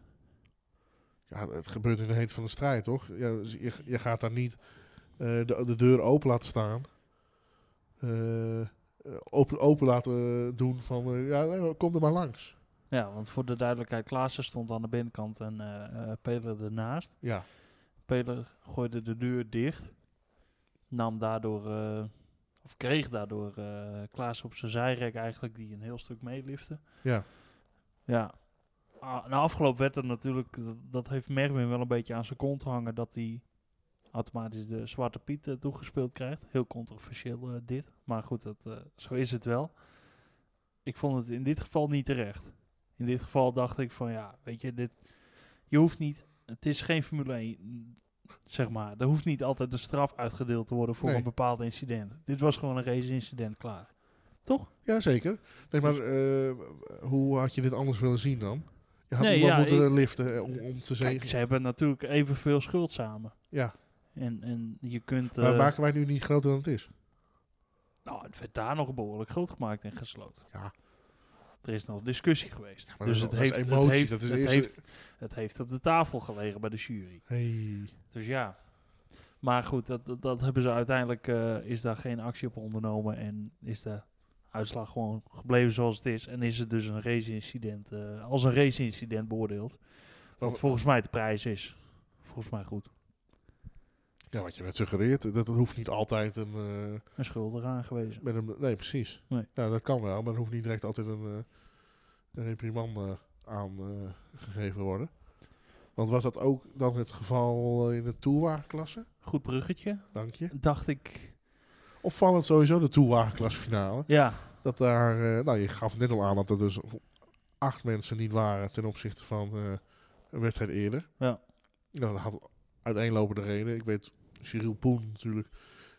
Ja, het gebeurt in de heet van de strijd, toch? Ja, dus je, je gaat daar niet eh, de, de deur open laten staan. Eh, eh, open, open laten eh, doen van, eh, ja, nee, kom er maar langs.
Ja, want voor de duidelijkheid, Klaassen stond aan de binnenkant en eh, eh, Peler ernaast.
Ja,
Peler gooide de deur dicht. Nam daardoor, eh, of kreeg daardoor eh, Klaas op zijn zijrek eigenlijk, die een heel stuk meelifte.
ja.
Ja. Ah, na afgelopen werd er natuurlijk, dat, dat heeft Merwin wel een beetje aan zijn kont hangen, dat hij automatisch de Zwarte Piet eh, toegespeeld krijgt. Heel controversieel eh, dit, maar goed, dat, eh, zo is het wel. Ik vond het in dit geval niet terecht. In dit geval dacht ik van ja, weet je, dit, je hoeft niet, het is geen Formule 1, zeg maar. Er hoeft niet altijd een straf uitgedeeld te worden voor
Nee.
een bepaald incident. Dit was gewoon een race incident, klaar.
Ja, zeker. Nee, maar eh, hoe had je dit anders willen zien dan? Je had
Nee,
iemand
ja,
moeten
ik-
liften eh, om, om te
Kijk,
zeggen.
ze hebben natuurlijk evenveel schuld samen.
Ja,
En, en je kunt...
maar
eh,
maken wij nu niet groter dan het is?
Nou, het werd daar nog behoorlijk groot gemaakt en gesloten.
Ja.
Er is nog discussie geweest.
maar
dus
dat
het
is- dat is
heeft, het,
emotie,
heeft,
dat is
het,
eerst-
heeft, het heeft op de tafel gelegen bij de jury.
Hey.
Dus ja. Maar goed, dat, dat, dat hebben ze uiteindelijk, eh, is daar geen actie op ondernomen en is de uitslag gewoon gebleven zoals het is. En is het dus een race-incident, eh, als een race-incident beoordeeld. Wat
Over-
volgens mij de prijs is. Volgens mij goed.
Ja, wat je net suggereert, dat, dat hoeft niet altijd een, eh,
Een schuldig aangewezen.
met een... Nee, precies.
Nee.
Nou, dat kan wel, maar er hoeft niet direct altijd een, eh, een reprimande aan eh, gegeven worden. Want was dat ook dan het geval eh, in de Toewa-klasse?
Goed bruggetje,
Dank je.
dacht ik.
Opvallend sowieso de Toewa-klasse finale.
Ja,
Dat daar, eh, nou je gaf net al aan dat er dus acht mensen niet waren ten opzichte van eh, een wedstrijd eerder.
Ja.
Nou, dat had uiteenlopende redenen. Ik weet, Cyril Poen natuurlijk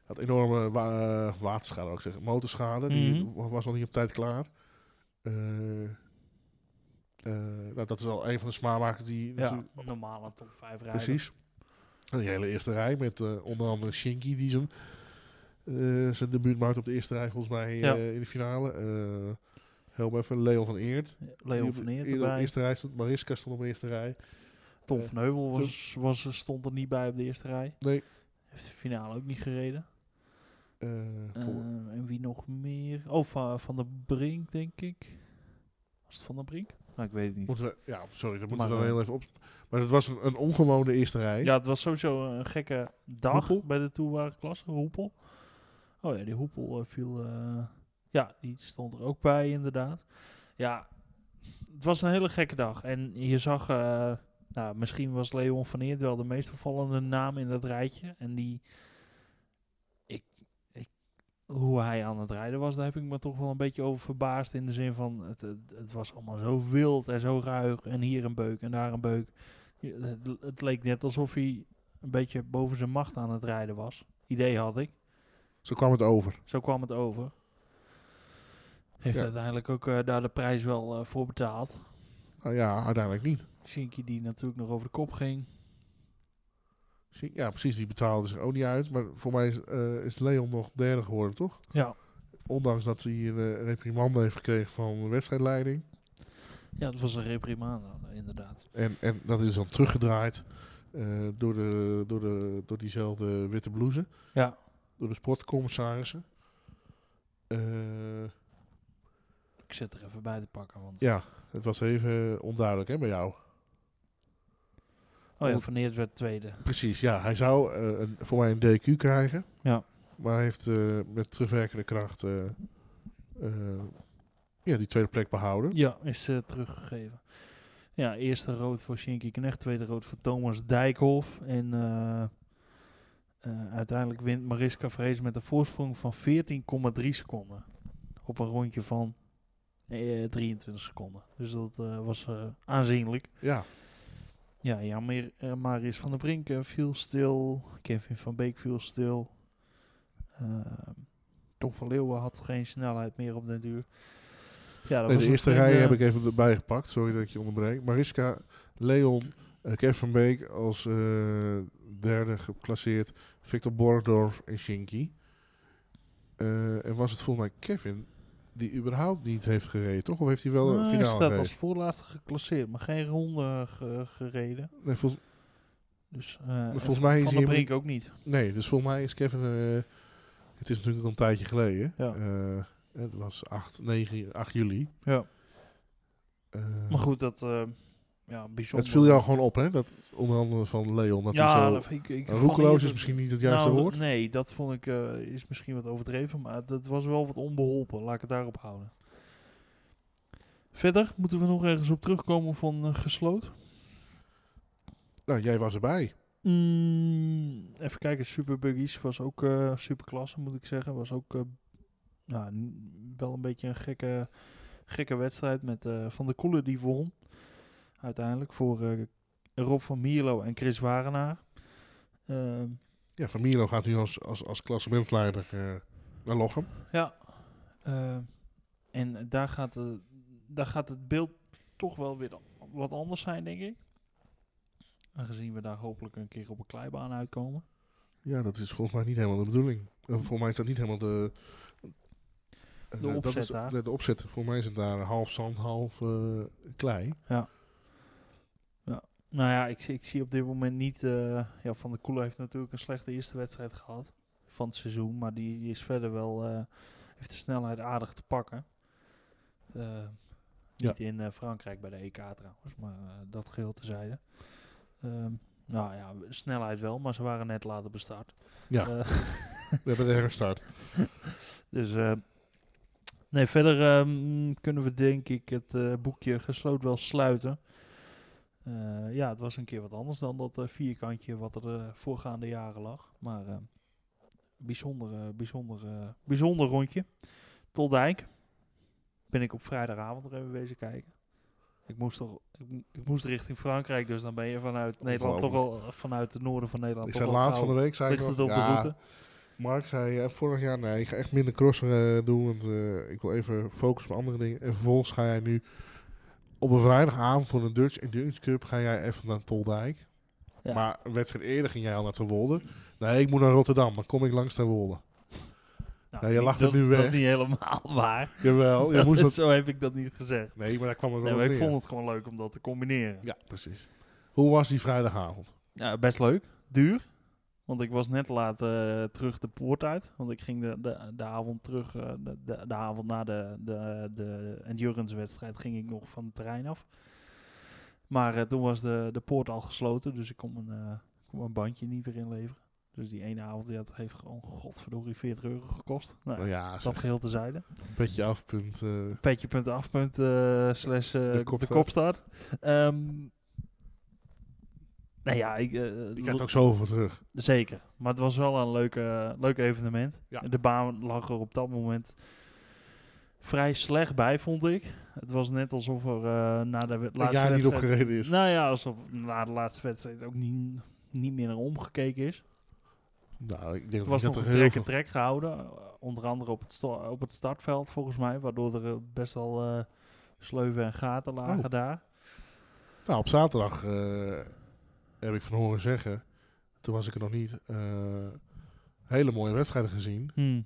had enorme wa eh, waterschade, ook zeggen, motorschade. Die
Mhm.
wa- was al niet op tijd klaar. Eh, eh, nou, dat is al een van de smaakmakers die
ja.
natuurlijk...
normale top 5 rijden.
Precies. En die hele eerste rij met eh, onder andere Shinky die zijn, eh zijn debuut maakt op de eerste rij volgens mij eh,
Ja.
in de finale. Eh help even, Leon van Eert.
Leo
Die
van
op de-
Eert
eerder op de
erbij.
eerste rij stond. Mariska stond op de eerste rij.
Tom
eh,
van Heuvel was, was, stond er niet bij op de eerste rij.
Nee.
Heeft de finale ook niet gereden.
Eh, vol-
Ehm, en wie nog meer? Oh, van, van de Brink, denk ik. Was het Van de Brink? Nou, ik weet het niet.
moeten we, ja, sorry, dat moeten we
Maar,
dan
eh,
heel even op. Maar het was een, een ongewone eerste rij.
Ja, het was sowieso een gekke dag
Hoepel?
bij de toewagenklasse. Hoepel. Oh ja, die Hoepel eh, viel... eh, ja, die stond er ook bij, inderdaad. Ja, het was een hele gekke dag. En je zag... eh, nou, misschien was Leon van Eert wel de meest opvallende naam in dat rijtje. En die... Ik, ik, hoe hij aan het rijden was, daar heb ik me toch wel een beetje over verbaasd. In de zin van, het, het, het was allemaal zo wild en zo ruig. En hier een beuk en daar een beuk. Je- Het, het leek net alsof hij een beetje boven zijn macht aan het rijden was. Idee had ik.
Zo kwam het over.
Zo kwam het over. Heeft
Ja.
uiteindelijk ook eh, daar de prijs wel eh, voor betaald.
Nou ja, uiteindelijk niet.
Shinky die natuurlijk nog over de kop ging.
Zie- Ja, precies, die betaalde zich ook niet uit. Maar voor mij is, eh, is Leon nog derde geworden, toch?
Ja,
Ondanks dat hij een eh, reprimande heeft gekregen van de wedstrijdleiding.
ja het was een reprimande inderdaad.
En, en dat is dan teruggedraaid eh, door, de, door, de, door diezelfde witte blouse.
Ja,
Door de sportcommissarissen. Eh,
ik zit er even bij te pakken. Want...
ja, het was even onduidelijk hè, bij jou.
Oh ja, Van Eert werd tweede.
Precies, ja. Hij zou eh, een, voor mij een DQ krijgen.
Ja.
Maar hij heeft eh, met terugwerkende kracht eh, eh, ja, die tweede plek behouden.
Ja, is eh, teruggegeven. Ja, eerste rood voor Shinky Knecht, tweede rood voor Thomas Dijkhoff. En eh, eh, uiteindelijk wint Mariska Vrees met een voorsprong van 14,3 seconden. Op een rondje van eh, 23 seconden. Dus dat eh, was eh, aanzienlijk.
Ja,
Ja, ja meer, eh, Marius van der Brink eh, viel stil. Kevin van Beek viel stil. Ehm Tom van Leeuwen had geen eh, snelheid meer op den duur. Ja, dat
Nee,
was
de
een
eerste
vreemde-
rij heb ik even erbij gepakt. Sorry dat ik je onderbreek. Mariska, Leon, eh, Kev van Beek als eh, derde geclasseerd. Victor Borgdorf en Shinky. Eh, en was het volgens mij Kevin die überhaupt niet heeft gereden, toch? Of heeft hij wel
Nee,
een
hij
finale
staat
gereden?
als voorlaatste geclasseerd, maar geen ronde ge- gereden.
Nee, volgens,
Dus, eh,
Volgens
en
mij is
Van
hij
der
hem
Brink ook niet.
nee, dus volgens mij is Kevin... eh, het is natuurlijk al een tijdje geleden.
Ja.
Eh, het was 8, 9, 8 juli.
Ja.
Eh,
Maar goed, dat... eh, ja, bijzonder.
het viel jou gewoon op, hè? Dat onder andere van Leon, dat hij
Ja,
zo...
dat vind ik, ik
Nou,
vond
Roekeloos
eerder-
is misschien niet het juiste
Nou,
woord.
Nee, dat vond ik eh, is misschien wat overdreven, maar dat was wel wat onbeholpen. Laat ik het daarop houden. Verder moeten we nog ergens op terugkomen van eh, gesloot.
Nou, jij was erbij.
Mm, even kijken, Super Buggies was ook eh super klasse, moet ik zeggen. Was ook eh, nou, n- wel een beetje een gekke, gekke wedstrijd met eh, Van der Koelen die won. Uiteindelijk voor eh, Rob van Mierlo en Chris Warenaar. Ehm,
Ja, Van Mierlo gaat nu als, als, als klassementleider eh, naar Lochem.
Ja. Eh, en daar gaat, de, daar gaat het beeld toch wel weer wat anders zijn, denk ik. Aangezien we daar hopelijk een keer op een kleibaan uitkomen.
Ja, dat is volgens mij niet helemaal de bedoeling. Eh, volgens mij is dat niet helemaal de... eh, dat
opzet
is de-
daar.
De, de opzet. Voor mij is het daar half zand, half eh, klei.
Nou ja, ik, zie- ik zie op dit moment niet... eh, ja, Van der Koelen heeft natuurlijk een slechte eerste wedstrijd gehad van het seizoen. Maar die, die is verder wel... eh, heeft de snelheid aardig te pakken. Eh,
Ja.
Niet in eh, Frankrijk bij de EK trouwens, maar eh, dat geheel tezijde. Ehm nou ja, snelheid wel, maar ze waren net later bestart.
Ja.
Eh,
We hebben de herstart.
Nou, Dus eh, nee, verder ehm, kunnen we denk ik het eh, boekje gesloten wel sluiten. Eh, ja, het was een keer wat anders dan dat eh, vierkantje wat er de voorgaande jaren lag. Maar eh, bijzonder, eh, bijzonder, eh, bijzonder rondje. Tot Dijk ben ik op vrijdagavond nog even bezig kijken. Ik moest, toch, ik, mo- ik moest richting Frankrijk, dus dan ben je vanuit Nederland toch al vanuit het noorden van Nederland.
Ik
toch
zei
al
laatst van de
gauw
week, zei ik
ligt het
nog,
op de
ja,
route.
Mark zei eh, vorig jaar, nee, ik ga echt minder crossen eh, doen, want eh, ik wil even focussen op andere dingen. En vervolgens ga jij nu op een vrijdagavond voor een Dutch Endurance Cup, ga jij even naar Toldijk.
Ja.
Maar een wedstrijd eerder ging jij al naar Terwolde. Nee, ik moet naar Rotterdam, dan kom ik langs Terwolde.
Nou,
Ja, je
niet-
lacht het
dat-
nu
Dat
weg.
is niet helemaal waar.
Jawel, Oh, je
Dat
moest
is-
dat...
Zo heb ik dat niet gezegd.
Nee, maar daar kwam het
Nee,
wel
maar
op
ik
neer.
vond het gewoon leuk om dat te combineren.
Ja, precies. Hoe was die vrijdagavond?
Ja, best leuk. Duur. Want ik was net laat eh, terug de poort uit. Want ik ging de, de, de avond terug, eh, de, de, de avond na de, de, de endurance wedstrijd, ging ik nog van het terrein af. Maar eh, toen was de, de poort al gesloten, dus ik kon mijn, eh, kon mijn bandje niet weer inleveren. Dus die ene avond, ja, dat heeft gewoon godverdorie 40 euro gekost. Nou,
Nou ja, zeg,
dat geheel tezijde.
een beetje afpunt. eh,
petje.af. punt, eh, slash eh,
De
de
kopstart.
kopstart. Ehm, nou ja, ik, eh,
ik
lo-
krijg er ook zoveel voor terug.
zeker. Maar het was wel een leuk, eh, leuk evenement.
Ja.
De baan lag er op dat moment vrij slecht bij, vond ik. Het was net alsof er eh, na de wed-
Dat
laatste
jij niet
wedstrijd...
opgereden is.
Nou ja, alsof na de laatste wedstrijd ook niet, niet meer naar omgekeken is.
Nou, ik denk
Er was
dat
nog
er
een
heel
trek
veel...
en trek gehouden. eh, Onder andere op het, sto- op het startveld volgens mij. Waardoor er eh, best wel eh, sleuven en gaten lagen
Oh.
daar.
Nou, op zaterdag eh, heb ik van horen zeggen, toen was ik er nog niet, eh, hele mooie wedstrijden gezien.
Hmm.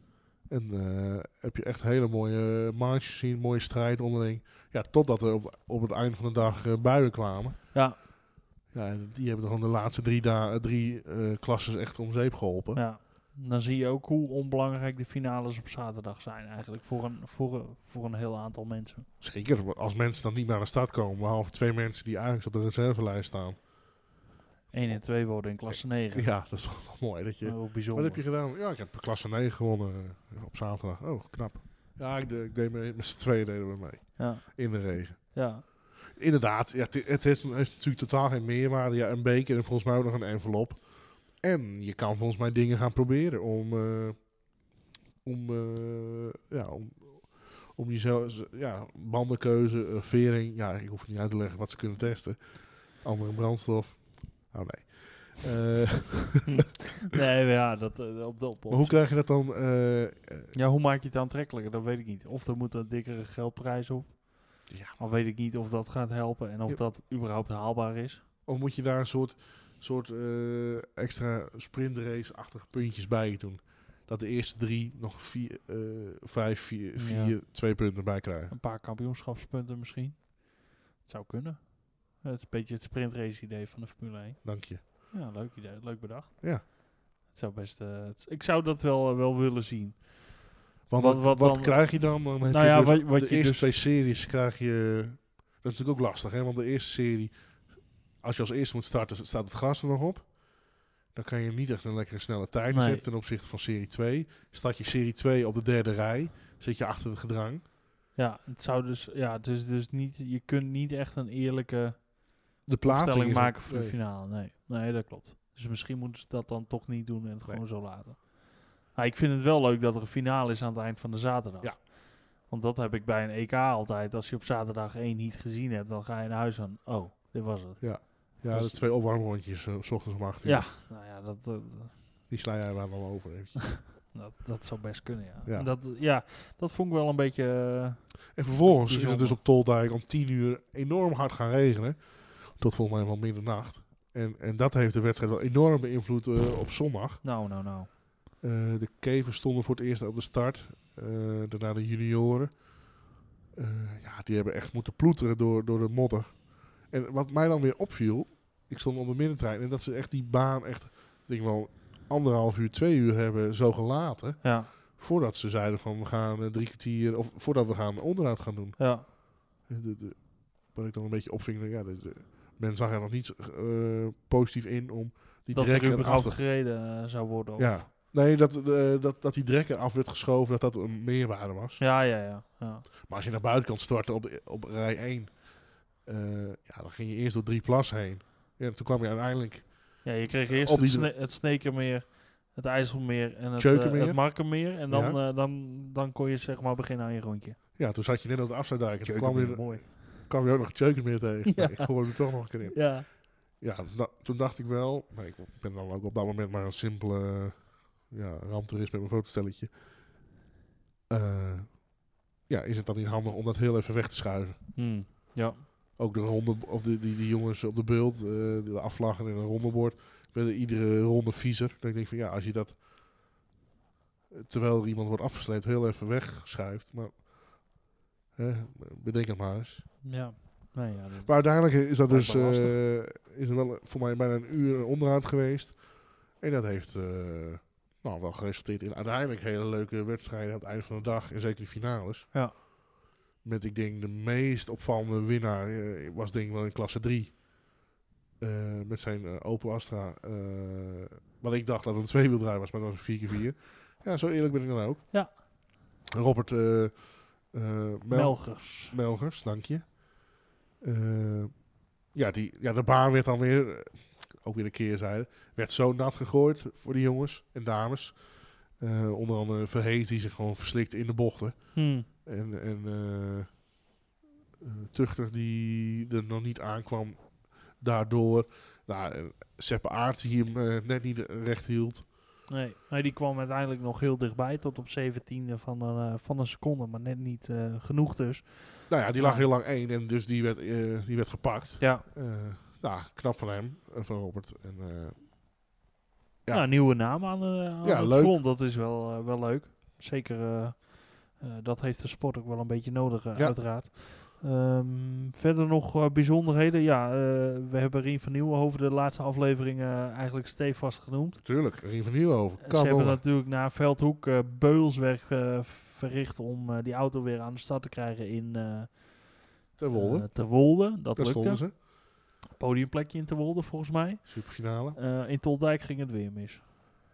En eh, heb je echt hele mooie marges gezien, mooie strijd onderling. Ja, totdat er op, op het eind van de dag eh, buien kwamen.
Ja.
Ja, en die hebben gewoon de laatste drie, da- drie eh klasses echt om zeep geholpen.
ja. Dan zie je ook hoe onbelangrijk de finales op zaterdag zijn eigenlijk. Voor een, voor, een- voor een heel aantal mensen.
Zeker, want als mensen dan niet naar de stad komen, behalve twee mensen die eigenlijk op de reservelijst staan.
1 en 2 worden in klasse 9.
Ja, dat is toch wel mooi dat je...
Heel bijzonder.
Wat heb je gedaan? Ja, ik heb klasse 9 gewonnen eh, op zaterdag. Oh, knap. Ja, ik, de- ik deed mee, met z'n tweeën deden we mee.
Ja,
In de regen.
ja.
Inderdaad, ja, het, het is, het heeft natuurlijk totaal geen meerwaarde. Ja, een beker en volgens mij ook nog een envelop. En je kan volgens mij dingen gaan proberen om, eh, om, eh, ja, om, om jezelf, ja, bandenkeuze, eh, vering. Ja, ik hoef het niet uit te leggen wat ze kunnen testen. Andere brandstof. Oh nee. Eh,
Nee, maar ja, dat, eh, op de op, op-
maar hoe krijg je dat dan? eh, eh,
Ja, hoe maak je het aantrekkelijker? Dat weet ik niet. Of er moet een dikkere geldprijs op.
ja,
Al weet ik niet of dat gaat helpen en of
Ja.
dat überhaupt haalbaar is.
of moet je daar een soort, soort eh, extra sprintrace-achtige puntjes bij doen? Dat de eerste drie nog vier, eh, vijf, vier,
Ja.
vier, twee punten bij krijgen.
Een paar kampioenschapspunten misschien. Het zou kunnen. Het is een beetje het sprintrace idee van de Formule 1.
Dank je.
Ja, leuk idee. Leuk bedacht.
Ja.
Het zou best, eh, het- ik zou dat wel, eh, wel willen zien.
Want
Wat-
wat,
wat
wat,
dan-
krijg je dan? Dan heb
Nou
je
ja,
dus
wat- wat
de
je
eerste
dus-
twee series krijg je... Dat is natuurlijk ook lastig, hè? Want de eerste serie, als je als eerste moet starten, staat het gras er nog op. Dan kan je niet echt een lekkere snelle tijd
Nee.
zetten ten opzichte van serie 2. Start je serie 2 op de derde rij, zit je achter het gedrang.
Ja, het zou dus, ja, het is dus niet, je kunt niet echt een eerlijke
De plaatsing
stelling
is
maken voor de
nee.
finale. Nee. nee, dat klopt. Dus misschien moeten ze dat dan toch niet doen en het
Nee.
gewoon zo laten. Maar ik vind het wel leuk dat er een finale is aan het eind van de zaterdag.
Ja.
Want dat heb ik bij een EK altijd. Als je op zaterdag één niet gezien hebt, dan ga je naar huis van, oh, dit was het.
Ja, de twee opwarmrondjes, eh, s ochtends om 8 uur.
Ja, nou ja, dat, dat,
Die sla jij wel al over eventjes.
dat, dat zou best kunnen, ja.
Ja.
En Dat, eh, ja, dat vond ik wel een beetje... eh,
En vervolgens is het
Bijzonder.
dus op Toldijk om 10 uur enorm hard gaan regenen. Tot volgens mij wel middernacht. En, en dat heeft de wedstrijd wel enorm beïnvloed eh, op zondag.
nou, nou, nou.
Eh, de kevers stonden voor het eerst op de start. Eh, daarna de junioren. Eh, ja, die hebben echt moeten ploeteren door, door de modder. En wat mij dan weer opviel, ik stond op de middentrein en dat ze echt die baan echt, ik denk wel anderhalf uur, twee uur hebben zo gelaten.
Ja,
Voordat ze zeiden van we gaan eh, drie kwartier, of voordat we gaan onderhoud gaan doen.
ja.
En de- de- wat ik dan een beetje opving, ja, de, de- men zag er nog niet eh, positief in om die
Dat
drek
er
eraf
überhaupt
te
gereden eh, zou worden. of-
ja. Nee, dat, eh, dat, dat die drekker af werd geschoven, dat dat een meerwaarde was.
ja, ja, ja. ja.
Maar als je naar buiten kan starten op, op rij 1, eh, ja, dan ging je eerst door drie plas heen. En toen kwam je uiteindelijk,
Ja, je kreeg eerst
Eh, Op
het,
die dra-
sne het Snekermeer, het IJsselmeer en het, eh,
Tjeukenmeer.
het Markenmeer. En dan,
Ja.
eh, dan, dan kon je zeg maar beginnen aan je rondje.
ja, toen zat je net op de afsluitdijk. En toen kwam
Tjeukenmeer,
je, kwam je ook nog Tjeuken meer tegen.
Ja.
Nee, ik gooi hem er toch nog een keer in.
Ja,
Ja, da- toen dacht ik wel, maar ik ben dan ook op dat moment maar een simpele eh, ja, ramptoerist met mijn fotostelletje. Eh, ja, is het dan niet handig om dat heel even weg te schuiven?
Hmm. ja.
Ook de ronde, of de, die, die jongens op de beeld, eh, de afvlaggen en een rondebord, werden iedere ronde viezer. Dan denk ik van ja, als je dat, eh, terwijl er iemand wordt afgesleept, heel even wegschuift. Maar hè, bedenk het maar eens.
ja. Nee, ja dat-
Maar uiteindelijk is dat
Lijkt
dus,
me
eh, is er wel voor mij bijna een uur onderhoud geweest. En dat heeft eh, nou, wel geresulteerd in uiteindelijk hele leuke wedstrijden aan het eind van de dag. En zeker de finales.
Ja.
Met, ik denk, de meest opvallende winnaar eh, was denk ik wel in klasse 3. Eh, met zijn eh, Opel Astra. eh, wat ik dacht dat het een tweewieldrijf was, maar dat was een 4x4. Ja, zo eerlijk ben ik dan ook.
Ja.
Robert eh, eh, Mel-
Melgers.
Melgers, dank je. Eh, ja, die, ja, de baan werd dan weer, eh, ook weer een keerzijde, werd zo nat gegooid voor die jongens en dames. Eh, onder andere Verhees die zich gewoon verslikt in de bochten.
Hmm.
En, en eh, eh, Tuchter die er nog niet aankwam daardoor. Nou, eh, Seppe Aert die hem eh, net niet recht hield.
Nee. nee, die kwam uiteindelijk nog heel dichtbij, tot op 17 van een, eh, van een seconde, maar net niet eh, genoeg dus.
Nou ja, die lag heel lang één en dus die werd, eh, die werd gepakt.
Ja,
Eh, nou, knap van hem, eh, van Robert. En, eh, Ja.
Nou, nieuwe naam aan, de aan
Ja,
het
leuk.
front, dat is wel, eh, wel leuk. Zeker, eh, eh, dat heeft de sport ook wel een beetje nodig, eh,
Ja.
uiteraard. Ehm, verder nog eh, bijzonderheden. Ja, eh, we hebben Rien van Nieuwenhoven de laatste aflevering eh, eigenlijk stevast genoemd.
Tuurlijk, Rien van Nieuwenhoven.
Ze
Kan
hebben
wel.
natuurlijk na Veldhoek eh beulswerk eh, verricht om eh, die auto weer aan de start te krijgen in eh
Ter Wolde.
eh, Terwolde. Dat
Daar stonden
lukte.
ze.
Podiumplekje in Terwolde volgens mij.
Superfinale.
Eh, in Toldijk ging het weer mis.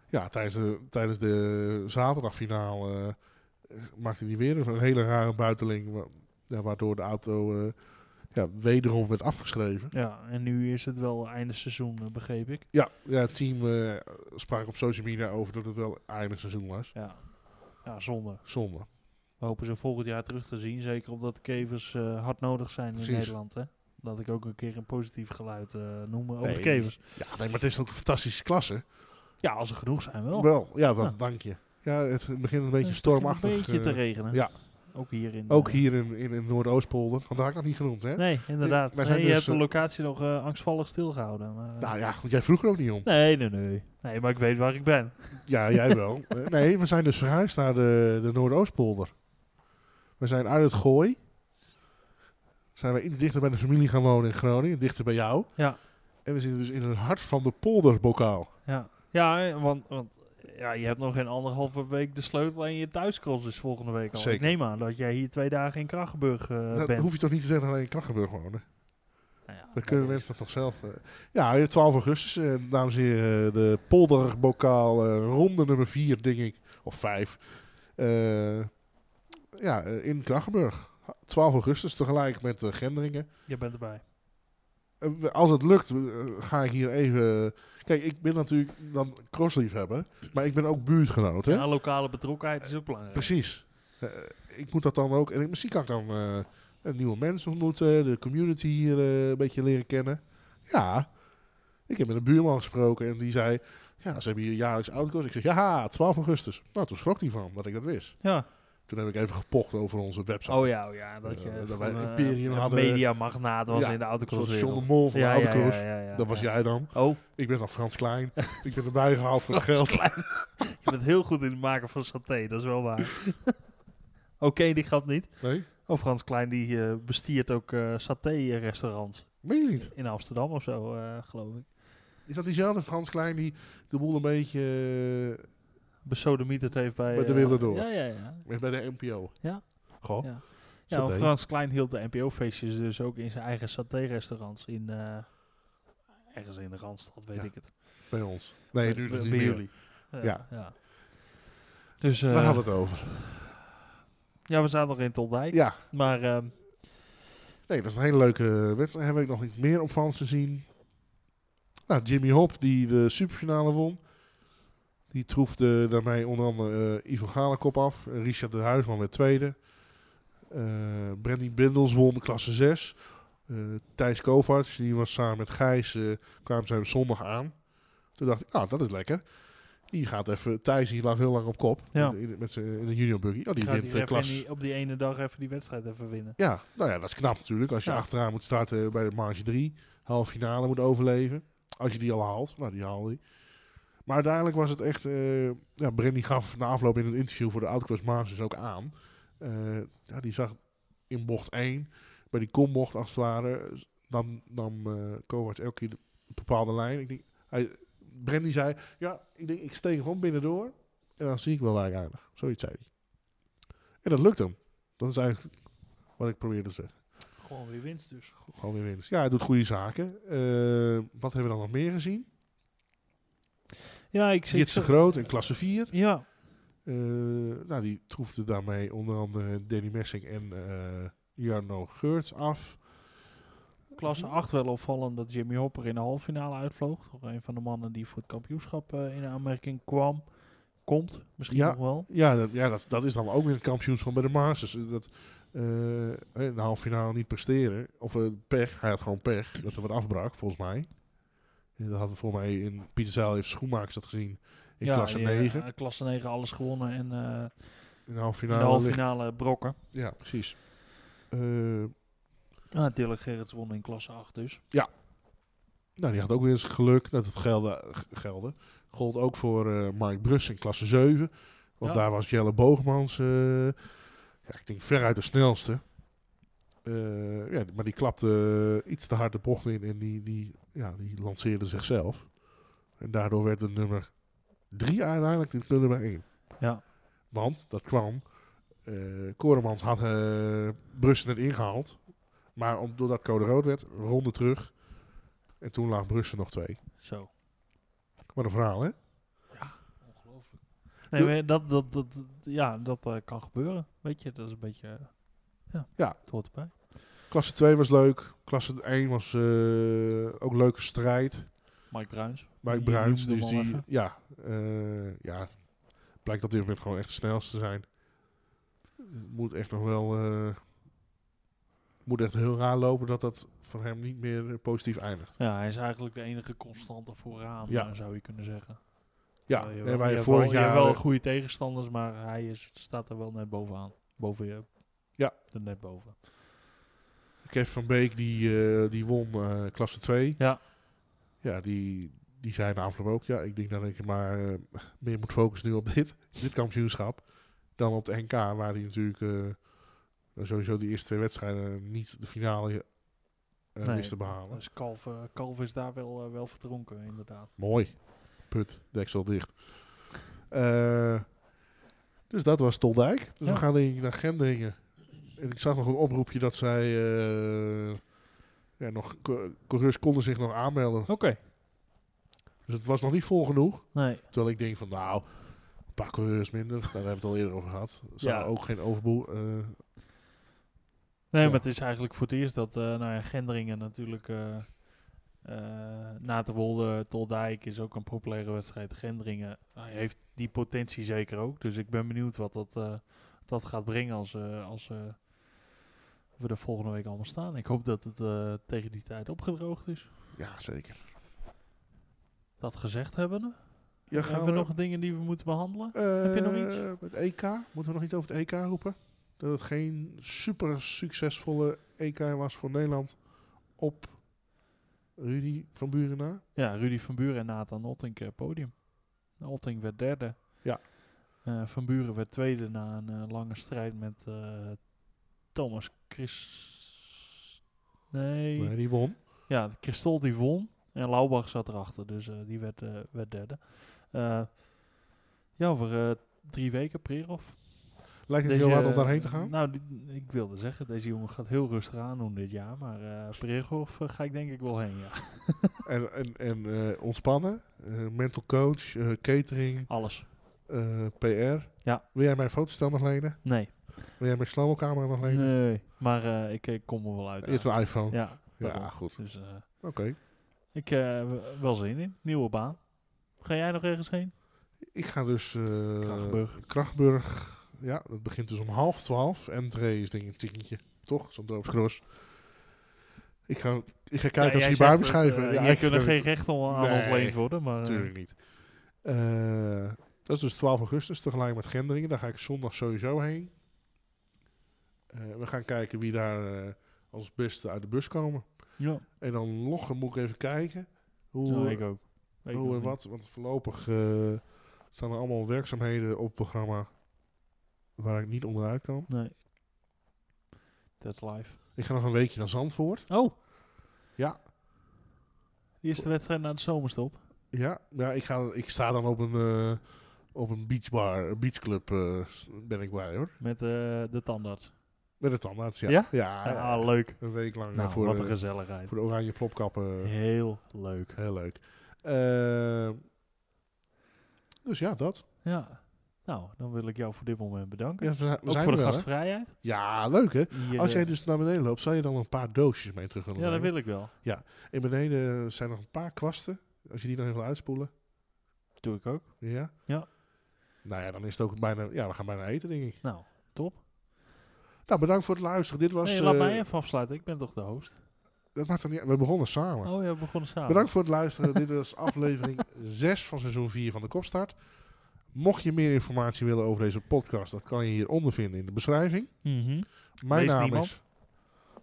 Ja, tijdens de, tijdens de zaterdagfinale eh, maakte hij weer een hele rare buiteling. wa- ja, waardoor de auto eh, ja, wederom werd afgeschreven.
Ja, en nu is het wel einde seizoen, eh, begreep ik.
Ja, ja het team eh, sprak op social media over dat het wel eindig seizoen was.
Ja. ja, zonde.
Zonde.
We hopen ze volgend jaar terug te zien. Zeker omdat de kevers eh, hard nodig zijn
Precies.
in Nederland. Hè? Laat ik ook een keer een positief geluid eh, noemen over de
Nee.
kevers.
Ja, nee, maar het is ook een fantastische klasse.
Ja, als er genoeg zijn wel.
Wel, ja, dat
Ja.
dank je. Ja, het begint een
Het
beetje
begint
stormachtig.
Een beetje te
eh,
regenen.
ja.
Ook hier in.
ook
eh,
hier in, in, in Noordoostpolder. Want daar had ik nog niet genoemd, hè?
Nee, inderdaad.
wij
Nee,
zijn
je
dus,
hebt de
eh,
locatie nog eh, angstvallig stilgehouden. Maar, eh,
Nou ja, goed, jij vroeg er ook niet om.
nee, nee, nee. Nee, maar ik weet waar ik ben.
Ja, jij wel. Eh, nee, we zijn dus verhuisd naar de, de Noordoostpolder. We zijn uit het Gooi. Zijn we iets dichter bij de familie gaan wonen in Groningen, dichter bij jou.
Ja.
En we zitten dus in het hart van de polderbokaal.
Ja, ja eh, want, want ja, je hebt nog geen anderhalve week de sleutel en je thuiscross is volgende week al. Ik
Zeker.
neem aan dat jij hier twee dagen in Krachtenburg eh,
dat
bent.
hoef je toch niet te zeggen dat wij in Krachtenburg wonen?
Nou ja,
Dan kunnen
dat
mensen dat toch zelf... eh. Ja, 12 augustus, eh, dames en heren, eh, de polderbokaal eh, ronde nummer 4, denk ik. Of 5. ja, eh, in Krachtenburg. 12 augustus, tegelijk met eh, Gendringen.
is- Je bent erbij.
Eh, we- Als het lukt, eh, ga ik hier even... Kijk, ik ben natuurlijk dan crossliefhebber, maar ik ben ook buurtgenoot, hè?
Ja, lokale betrokkenheid is ook belangrijk.
Precies. Eh, ik moet dat dan ook... En ik- misschien kan ik dan eh, een nieuwe mensen ontmoeten, de community hier eh, een beetje leren kennen. Ja, ik heb met een buurman gesproken en die zei... Ja, ze hebben hier jaarlijks auto's. Ik zeg, ja, 12 augustus. Nou, toen schrok hij van dat ik dat wist.
Ja.
Toen heb ik even gepocht over onze website.
Oh ja, oh ja. Dat,
Eh,
je
dat
van,
wij
eh,
Imperium
een
hadden.
mediamagnaat was
Ja,
in de
Een soort
autocross
John de Mol van de autocross.
ja, ja,
Dat was
ja.
jij dan.
Oh,
Ik ben dan Frans Klein. ik ben erbij gehaald voor het geld.
Frans Klein. je bent heel goed in het maken van saté, dat is wel waar. Oké, die gaat niet.
Nee,
Of Frans Klein, die eh, bestiert ook eh saté-restaurants.
meen je niet.
In Amsterdam of zo, eh, geloof ik.
Is dat diezelfde Frans Klein die de boel een beetje eh,
Besodemieterd heeft bij...
Bij de
eh,
Wereld Door.
Ja, ja, ja.
werd bij de NPO?
Ja.
Goh.
Ja. Ja,
Saté.
want Frans Klein hield de NPO-feestjes dus ook in zijn eigen saté-restaurants in... eh, ergens in de Randstad, weet
Ja.
ik het.
Bij ons. Nee,
Bij-
nu
bij-
niet
bij
meer.
jullie. Eh,
Ja.
Dus eh,
Waar hadden we het over?
ja, we zaten nog in Toldijk.
Ja,
Maar ehm,
nee, dat is een hele leuke wedstrijd. Hebben we nog iets meer op Frans gezien? Nou, Jimmy Hop die de superfinale won. Die troefde daarmee onder andere eh, Ivo Galenkop af. Eh, Richard de Huisman werd tweede. Eh Brandy Bindels won klasse 6. Eh, Thijs Kovaerts, die was samen met Gijs, eh, kwamen zij op zondag aan. Toen dacht ik, nou, dat is lekker. Die gaat even, Thijs die lag heel lang op kop
Ja.
in, in- met zijn- in de junior buggy. Oh, die
gaat
wint eh,
hij even in
klas.
die- op die ene dag even die wedstrijd even winnen.
Ja, nou ja, dat is knap natuurlijk. Als je
Ja.
achteraan moet starten bij de marge 3, halve finale moet overleven. Als je die al haalt, nou die haalde hij. Maar uiteindelijk was het echt... eh, ja, Brandy gaf na afloop in het interview voor de Outcross Masters ook aan. Eh, ja, die zag in bocht 1, bij die kombocht als het ware, nam, nam eh Kovacs elke keer een bepaalde lijn. Ik denk, hij, Brandy zei, ja, ik, denk, ik steek gewoon binnendoor en dan zie ik wel waar ik eindig. Zoiets zei hij. En dat lukt hem. Dat is eigenlijk wat ik probeerde te zeggen.
Gewoon weer winst dus.
Gewoon weer winst. Ja, hij doet goede zaken. Eh, wat hebben we dan nog meer gezien?
Ja, ik zit...
Jitse Groot in klasse 4.
Ja,
Eh, nou, die troefde daarmee onder andere Danny Messing en eh, Jarno Geurts af.
klasse 8 wel opvallend dat Jimmy Hopper in de halve finale uitvloog. Toch een van de mannen die voor het kampioenschap eh, in de aanmerking kwam. Komt, misschien
Ja.
nog wel.
Ja, dat, ja dat, dat is dan ook weer een kampioenschap bij de Masters. Eh, Dat, eh, in de halve finale niet presteren. Of eh, pech. Hij had gewoon pech. Dat er wat afbrak, volgens mij. Eh, Dat hadden we volgens mij in Pieterzaal heeft Schoenmakers dat gezien. In
Ja,
klasse
die,
9.
eh, klasse 9 alles gewonnen en eh,
in de halve
in de
finale.
halve
Nou, ligt-
finale brokken.
Ja, precies. Eh,
Ja, Dylan Gerrits won in klasse 8 dus.
Nou, die had ook weer eens geluk dat het gelde. g- gelde. Gold ook voor eh Mark Bruss in klasse 7. Want
Ja.
daar was Jelle Boogmans, eh, ja, ik denk veruit de snelste. Eh, ja, maar die klapte eh, iets te hard de bocht in en die, die, ja, die lanceerde zichzelf. En daardoor werd het nummer 3 uiteindelijk dit nummer 1.
Ja.
Want dat kwam. eh Koremans had eh Bruss net ingehaald. Maar om, doordat code rood werd, ronde terug. En toen lag Brussen nog twee.
Zo.
Wat een verhaal, hè?
Ongelooflijk. Nee,
Ja.
maar dat, dat, dat, ja, dat eh, kan gebeuren. Weet je, dat is een beetje... eh, ja,
Ja.
het hoort erbij.
Klasse 2 was leuk. Klasse 1 was eh, ook leuke strijd.
Mike Bruins.
Mike
Die
Bruins,
noemde
dus
hem al
die...
even.
Ja, eh, ja, blijkt op dit moment gewoon echt de snelste te zijn. Het moet echt nog wel... eh, moet echt heel raar lopen dat dat voor hem niet meer eh, positief eindigt.
Ja, hij is eigenlijk de enige constante vooraan,
Ja.
eh, zou je kunnen zeggen.
Ja,
Terwijl je
en
wel- je
wij
hebt
vorig
wel, je hebt
jaar...
wel
eh,
goede tegenstanders, maar hij is, staat er wel net bovenaan. Boven je.
Ja.
Er net boven.
Kev van Beek, die, eh, die won eh, klasse 2.
Ja.
Ja, die, die zei na afloop ook, ja, ik denk dat ik maar eh, meer moet focussen nu op dit, dit kampioenschap dan op de NK, waar hij natuurlijk eh, sowieso die eerste twee wedstrijden niet de finale eh,
Nee,
wist te behalen.
Dus Kalf, eh, Kalf is daar wel, eh, wel verdronken, inderdaad.
Mooi. Put, deksel dicht. Eh, dus dat was Toldijk. Dus
Ja.
we gaan denk ik naar Gendringen. En ik zag nog een oproepje dat zij... eh, ja, nog, co- coureurs konden zich nog aanmelden.
Oké.
Dus het was nog niet vol genoeg.
Nee.
Terwijl ik denk van, nou, een paar coureurs minder. Daar hebben we het al eerder over gehad. Zou
Ja.
ook geen overboel... eh,
Nee,
Ja.
maar het is eigenlijk voor het eerst dat eh nou ja, Gendringen natuurlijk... eh eh Naterwolde, Toldijk is ook een populaire wedstrijd. Gendringen hij heeft die potentie zeker ook. Dus ik ben benieuwd wat dat, eh, dat gaat brengen als, eh, als eh, we er volgende week allemaal staan. Ik hoop dat het eh, tegen die tijd opgedroogd is.
ja, zeker.
Dat gezegd hebben.
Ja, gaan
Hebben we nog dingen die we moeten behandelen?
Heb
je nog iets?
Eh, Het EK. Moeten we nog iets over het EK roepen? Dat het geen super succesvolle EK was voor Nederland op Rudy van Buren na.
Ja, Rudy van Buren en Nathan Otting eh, podium. Otting werd derde.
Ja.
Eh, van Buren werd tweede na een eh, lange strijd met eh, Thomas Chris... Nee.
Nee, die won.
Ja, Christol die won. En Laubach zat erachter, dus eh, die werd, eh, werd derde. Eh, ja, over eh, drie weken, Prerov.
Lijkt het
Deze-
heel hard om daarheen te gaan.
Nou, die- ik wilde zeggen, deze jongen gaat heel rustig aan doen dit jaar. Maar eh Prerov eh, ga ik denk ik wel heen, ja.
En, en, en eh, ontspannen. eh, mental coach, eh, catering,
Alles.
eh, PR.
Ja.
Wil jij mijn fotostel nog lenen?
Nee.
Wil jij mijn slowmo-camera nog lenen?
Nee, maar eh, ik, ik kom er wel uit.
Je hebt een iPhone. Ja,
ja, daarom.
goed.
Dus, eh,
Oké.
ik eh, w- wel zin in. Nieuwe baan. Ga jij nog ergens heen?
Ik ga dus... eh
Krachtenburg.
Krachtburg. Ja, dat begint dus om half twaalf. Entree is denk ik een tikkentje. Toch? Zo'n dorpskros. Ik ga, ik ga kijken als
jij
je bij
zegt
me
dat,
schuiven.
eh,
ja,
jij
ik
kunt er
ben
geen
het-
recht om- aan
Nee,
ontleend worden, maar... eh,
Natuurlijk niet. Eh, dat is dus 12 augustus, tegelijk met Gendringen. Daar ga ik zondag sowieso heen. Eh, we gaan kijken wie daar eh, als beste uit de bus komen.
ja,
En dan loggen moet ik even kijken hoe,
ja, ik ook. Weet ik
hoe
nog
en
niet.
wat. Want voorlopig eh, staan er allemaal werkzaamheden op het programma waar ik niet onderuit kan.
Nee. That's live.
Ik ga nog een weekje naar Zandvoort.
Oh!
Ja.
Die is de wedstrijd na de zomerstop.
Ja, ja ik, ga, ik sta dan op een, eh, op een beachbar, een beachclub eh, s- ben ik bij hoor.
Met eh, de tandarts.
Met de tandarts, ja.
Ja?
Ja, ja.
Ah, leuk.
Een week lang
Nou,
eh, voor,
wat
de,
een gezelligheid.
voor de oranje plopkappen.
Heel leuk.
Heel leuk. Eh, dus ja, dat.
Ja. Nou, dan wil ik jou voor dit moment bedanken.
Ja, we, zijn- we
ook
zijn
voor
er
de
wel, hè?
gastvrijheid.
Ja, leuk hè.
Hier,
Als jij
eh,
dus naar beneden loopt, zou je dan een paar doosjes mee terug willen
Ja, dat
nemen?
wil ik wel.
En beneden zijn nog een paar kwasten. Als je die nog even wil uitspoelen.
Doe ik ook.
Ja?
Ja.
Nou ja, dan is het ook bijna... Ja, we gaan bijna eten, denk ik.
Nou, top.
Nou, bedankt voor het luisteren. Dit was...
Nee, laat
eh,
mij even afsluiten. Ik ben toch de host.
dat maakt dan niet uit. We begonnen samen.
Oh ja, we begonnen samen.
Bedankt voor het luisteren. Dit was aflevering 6 van seizoen 4 van de Kopstart. Mocht je meer informatie willen over deze podcast, dat kan je hieronder vinden in de beschrijving.
Mhm.
Mijn
Leest
naam
niemand?
is.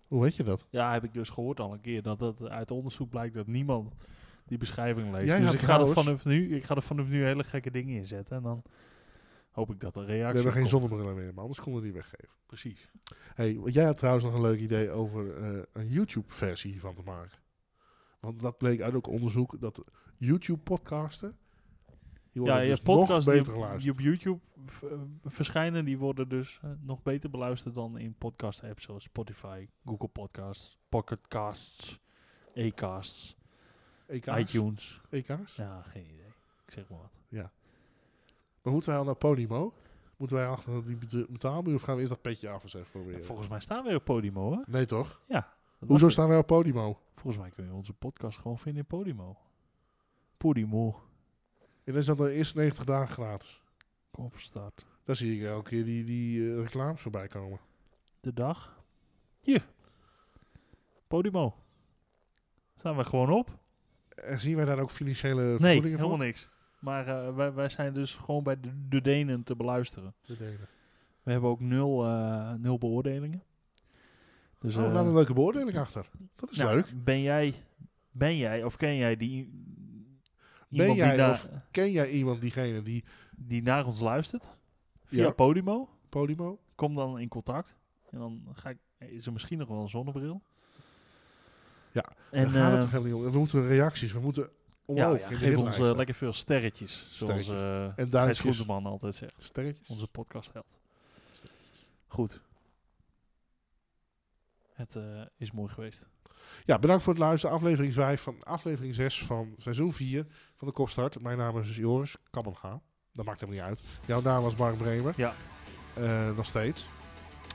Hoe weet je dat?
Ja, heb ik dus gehoord al een keer dat het uit onderzoek blijkt dat niemand die beschrijving leest.
Jij
dus
had
ik ga, er
trouwens-
vanaf nu, ik ga er vanaf nu hele gekke dingen in zetten. En dan hoop ik dat er reactie
We hebben geen
komt.
zonnebrillen meer, maar anders konden we die weggeven.
Precies.
Hey, want jij had trouwens nog een leuk idee over eh, een YouTube-versie hiervan te maken. Want dat bleek uit ook onderzoek dat YouTube-podcasten. Die worden
Ja, je
dus nog
podcast
beter
die, op-
geluisterd.
die op YouTube v- eh, verschijnen, die worden dus eh, nog beter beluisterd dan in podcast-apps zoals Spotify, Google Podcasts, Pocketcasts, Acasts,
EK's?
iTunes.
EK's?
Ja, geen idee. Ik zeg maar wat.
Maar moeten wij al naar Podimo? Moeten wij achter die bet- betaalmuur of gaan we eerst dat petje af eens even
Ja,
proberen?
Volgens mij staan we op Podimo, hè?
Nee toch?
Dat
Hoezo
dacht
staan wij op Podimo?
ik. Volgens mij kun je onze podcast gewoon vinden in Podimo. Podimo.
En is dat de eerste 90 dagen gratis?
Kom van start.
Dan zie ik elke keer die, die eh, reclames voorbij komen.
De dag. Podimo. Staan we gewoon op.
En zien wij daar ook financiële
Nee,
vergoedingen
helemaal
voor?
niks. Maar eh, wij, wij zijn dus gewoon bij de, de Denen te beluisteren.
De delen.
We hebben ook nul, eh, nul beoordelingen. Dus,
oh,
eh,
laat een leuke beoordeling achter. Dat is
nou,
leuk.
Ben jij, ben jij of ken jij die... iemand
jij
die, na-
of- Ken jij iemand diegene die
die naar ons luistert? Via
Ja.
Podimo?
Podimo?
Kom dan in contact. En dan ga ik, eh, is er misschien nog wel een zonnebril.
Ja,
en
Daar gaat het
eh,
toch helemaal niet om. We moeten reacties, we moeten
ja,
omhoog
ja,
in de
geef ons
hitlijsten.
eh, lekker veel sterretjes. Zoals
Sterretjes.
eh
En
Gijs
duimpjes,
Groenteman altijd zegt.
sterretjes.
Onze podcastheld. Goed. Het eh, is mooi geweest.
Ja, bedankt voor het luisteren. Aflevering 5 van aflevering 6 van seizoen 4 van de Kopstart. Mijn naam is dus Joris Kammenga. Dat maakt hem niet uit. Jouw naam was Mark Bremer.
Ja.
Eh, nog steeds.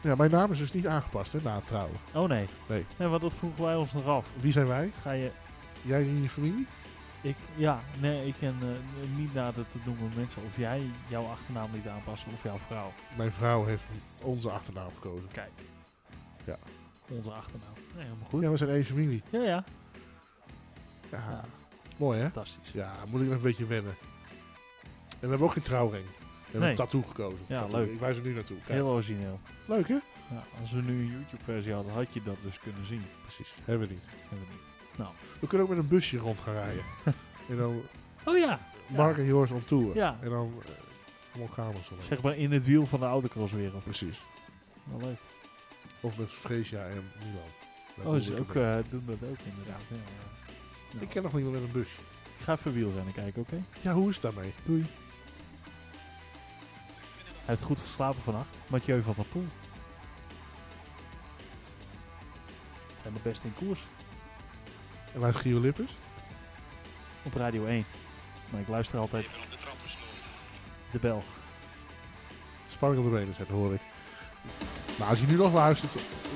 Ja, mijn naam is dus niet aangepast hè, na het trouwen.
Oh nee.
Nee.
want dat vroegen wij ons nog af.
Wie zijn wij?
Ga je...
Jij en je familie?
Ik, ja, nee, ik ken eh, niet nader te noemen mensen of jij jouw achternaam niet aanpassen of jouw vrouw.
Mijn vrouw heeft onze achternaam gekozen.
Kijk.
Ja.
Onze achternaam. Nee, helemaal goed.
Ja, we zijn één familie.
Ja, ja.
Ja, mooi hè?
Fantastisch.
Ja, moet ik nog een beetje wennen. En we hebben ook geen trouwring. We hebben
Nee.
een tattoo gekozen.
Ja,
Tattoo.
leuk.
Ik wijs er nu naartoe. Kijk.
Heel origineel.
Leuk hè?
Ja, als we nu een YouTube-versie hadden, had je dat dus kunnen zien.
Precies. Hebben we niet.
Hebben we niet.
We kunnen ook met een busje rond gaan rijden. en dan
Oh ja.
Mark en Joris on tour.
Ja.
En dan eh, allemaal kamers. erbij.
Zeg maar in het wiel van de autocrosswereld.
Precies.
Wel leuk.
Of met Freesia en Milan. Dat
Oh,
doen
ze
we
ook,
wel.
eh, doen dat ook inderdaad. Ja. ja. Nou,
Ik ken nog iemand met een busje.
ik ga even wielrennen kijken, oké?
Ja, hoe is het daarmee?
Doei. Hij heeft goed geslapen vannacht. Mathieu van der Poel. Het zijn de beste in koers.
En wij zijn Gio Lippers.
Op Radio 1. Maar ik luister altijd... de Belg.
Spanning op de benen zetten, hoor ik. Nou, als je nu nog luistert,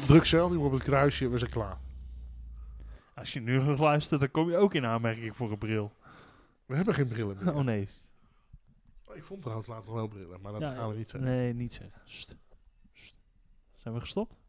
druk zelf nu op het kruisje. We zijn klaar.
Als je nu nog luistert, dan kom je ook in aanmerking voor een bril.
We hebben geen brillen meer.
Oh nee.
Ik vond trouwens laatst nog wel brillen, maar dat
Ja,
gaan we niet zeggen.
Nee, niet zeggen. Sst. Sst. Zijn we gestopt?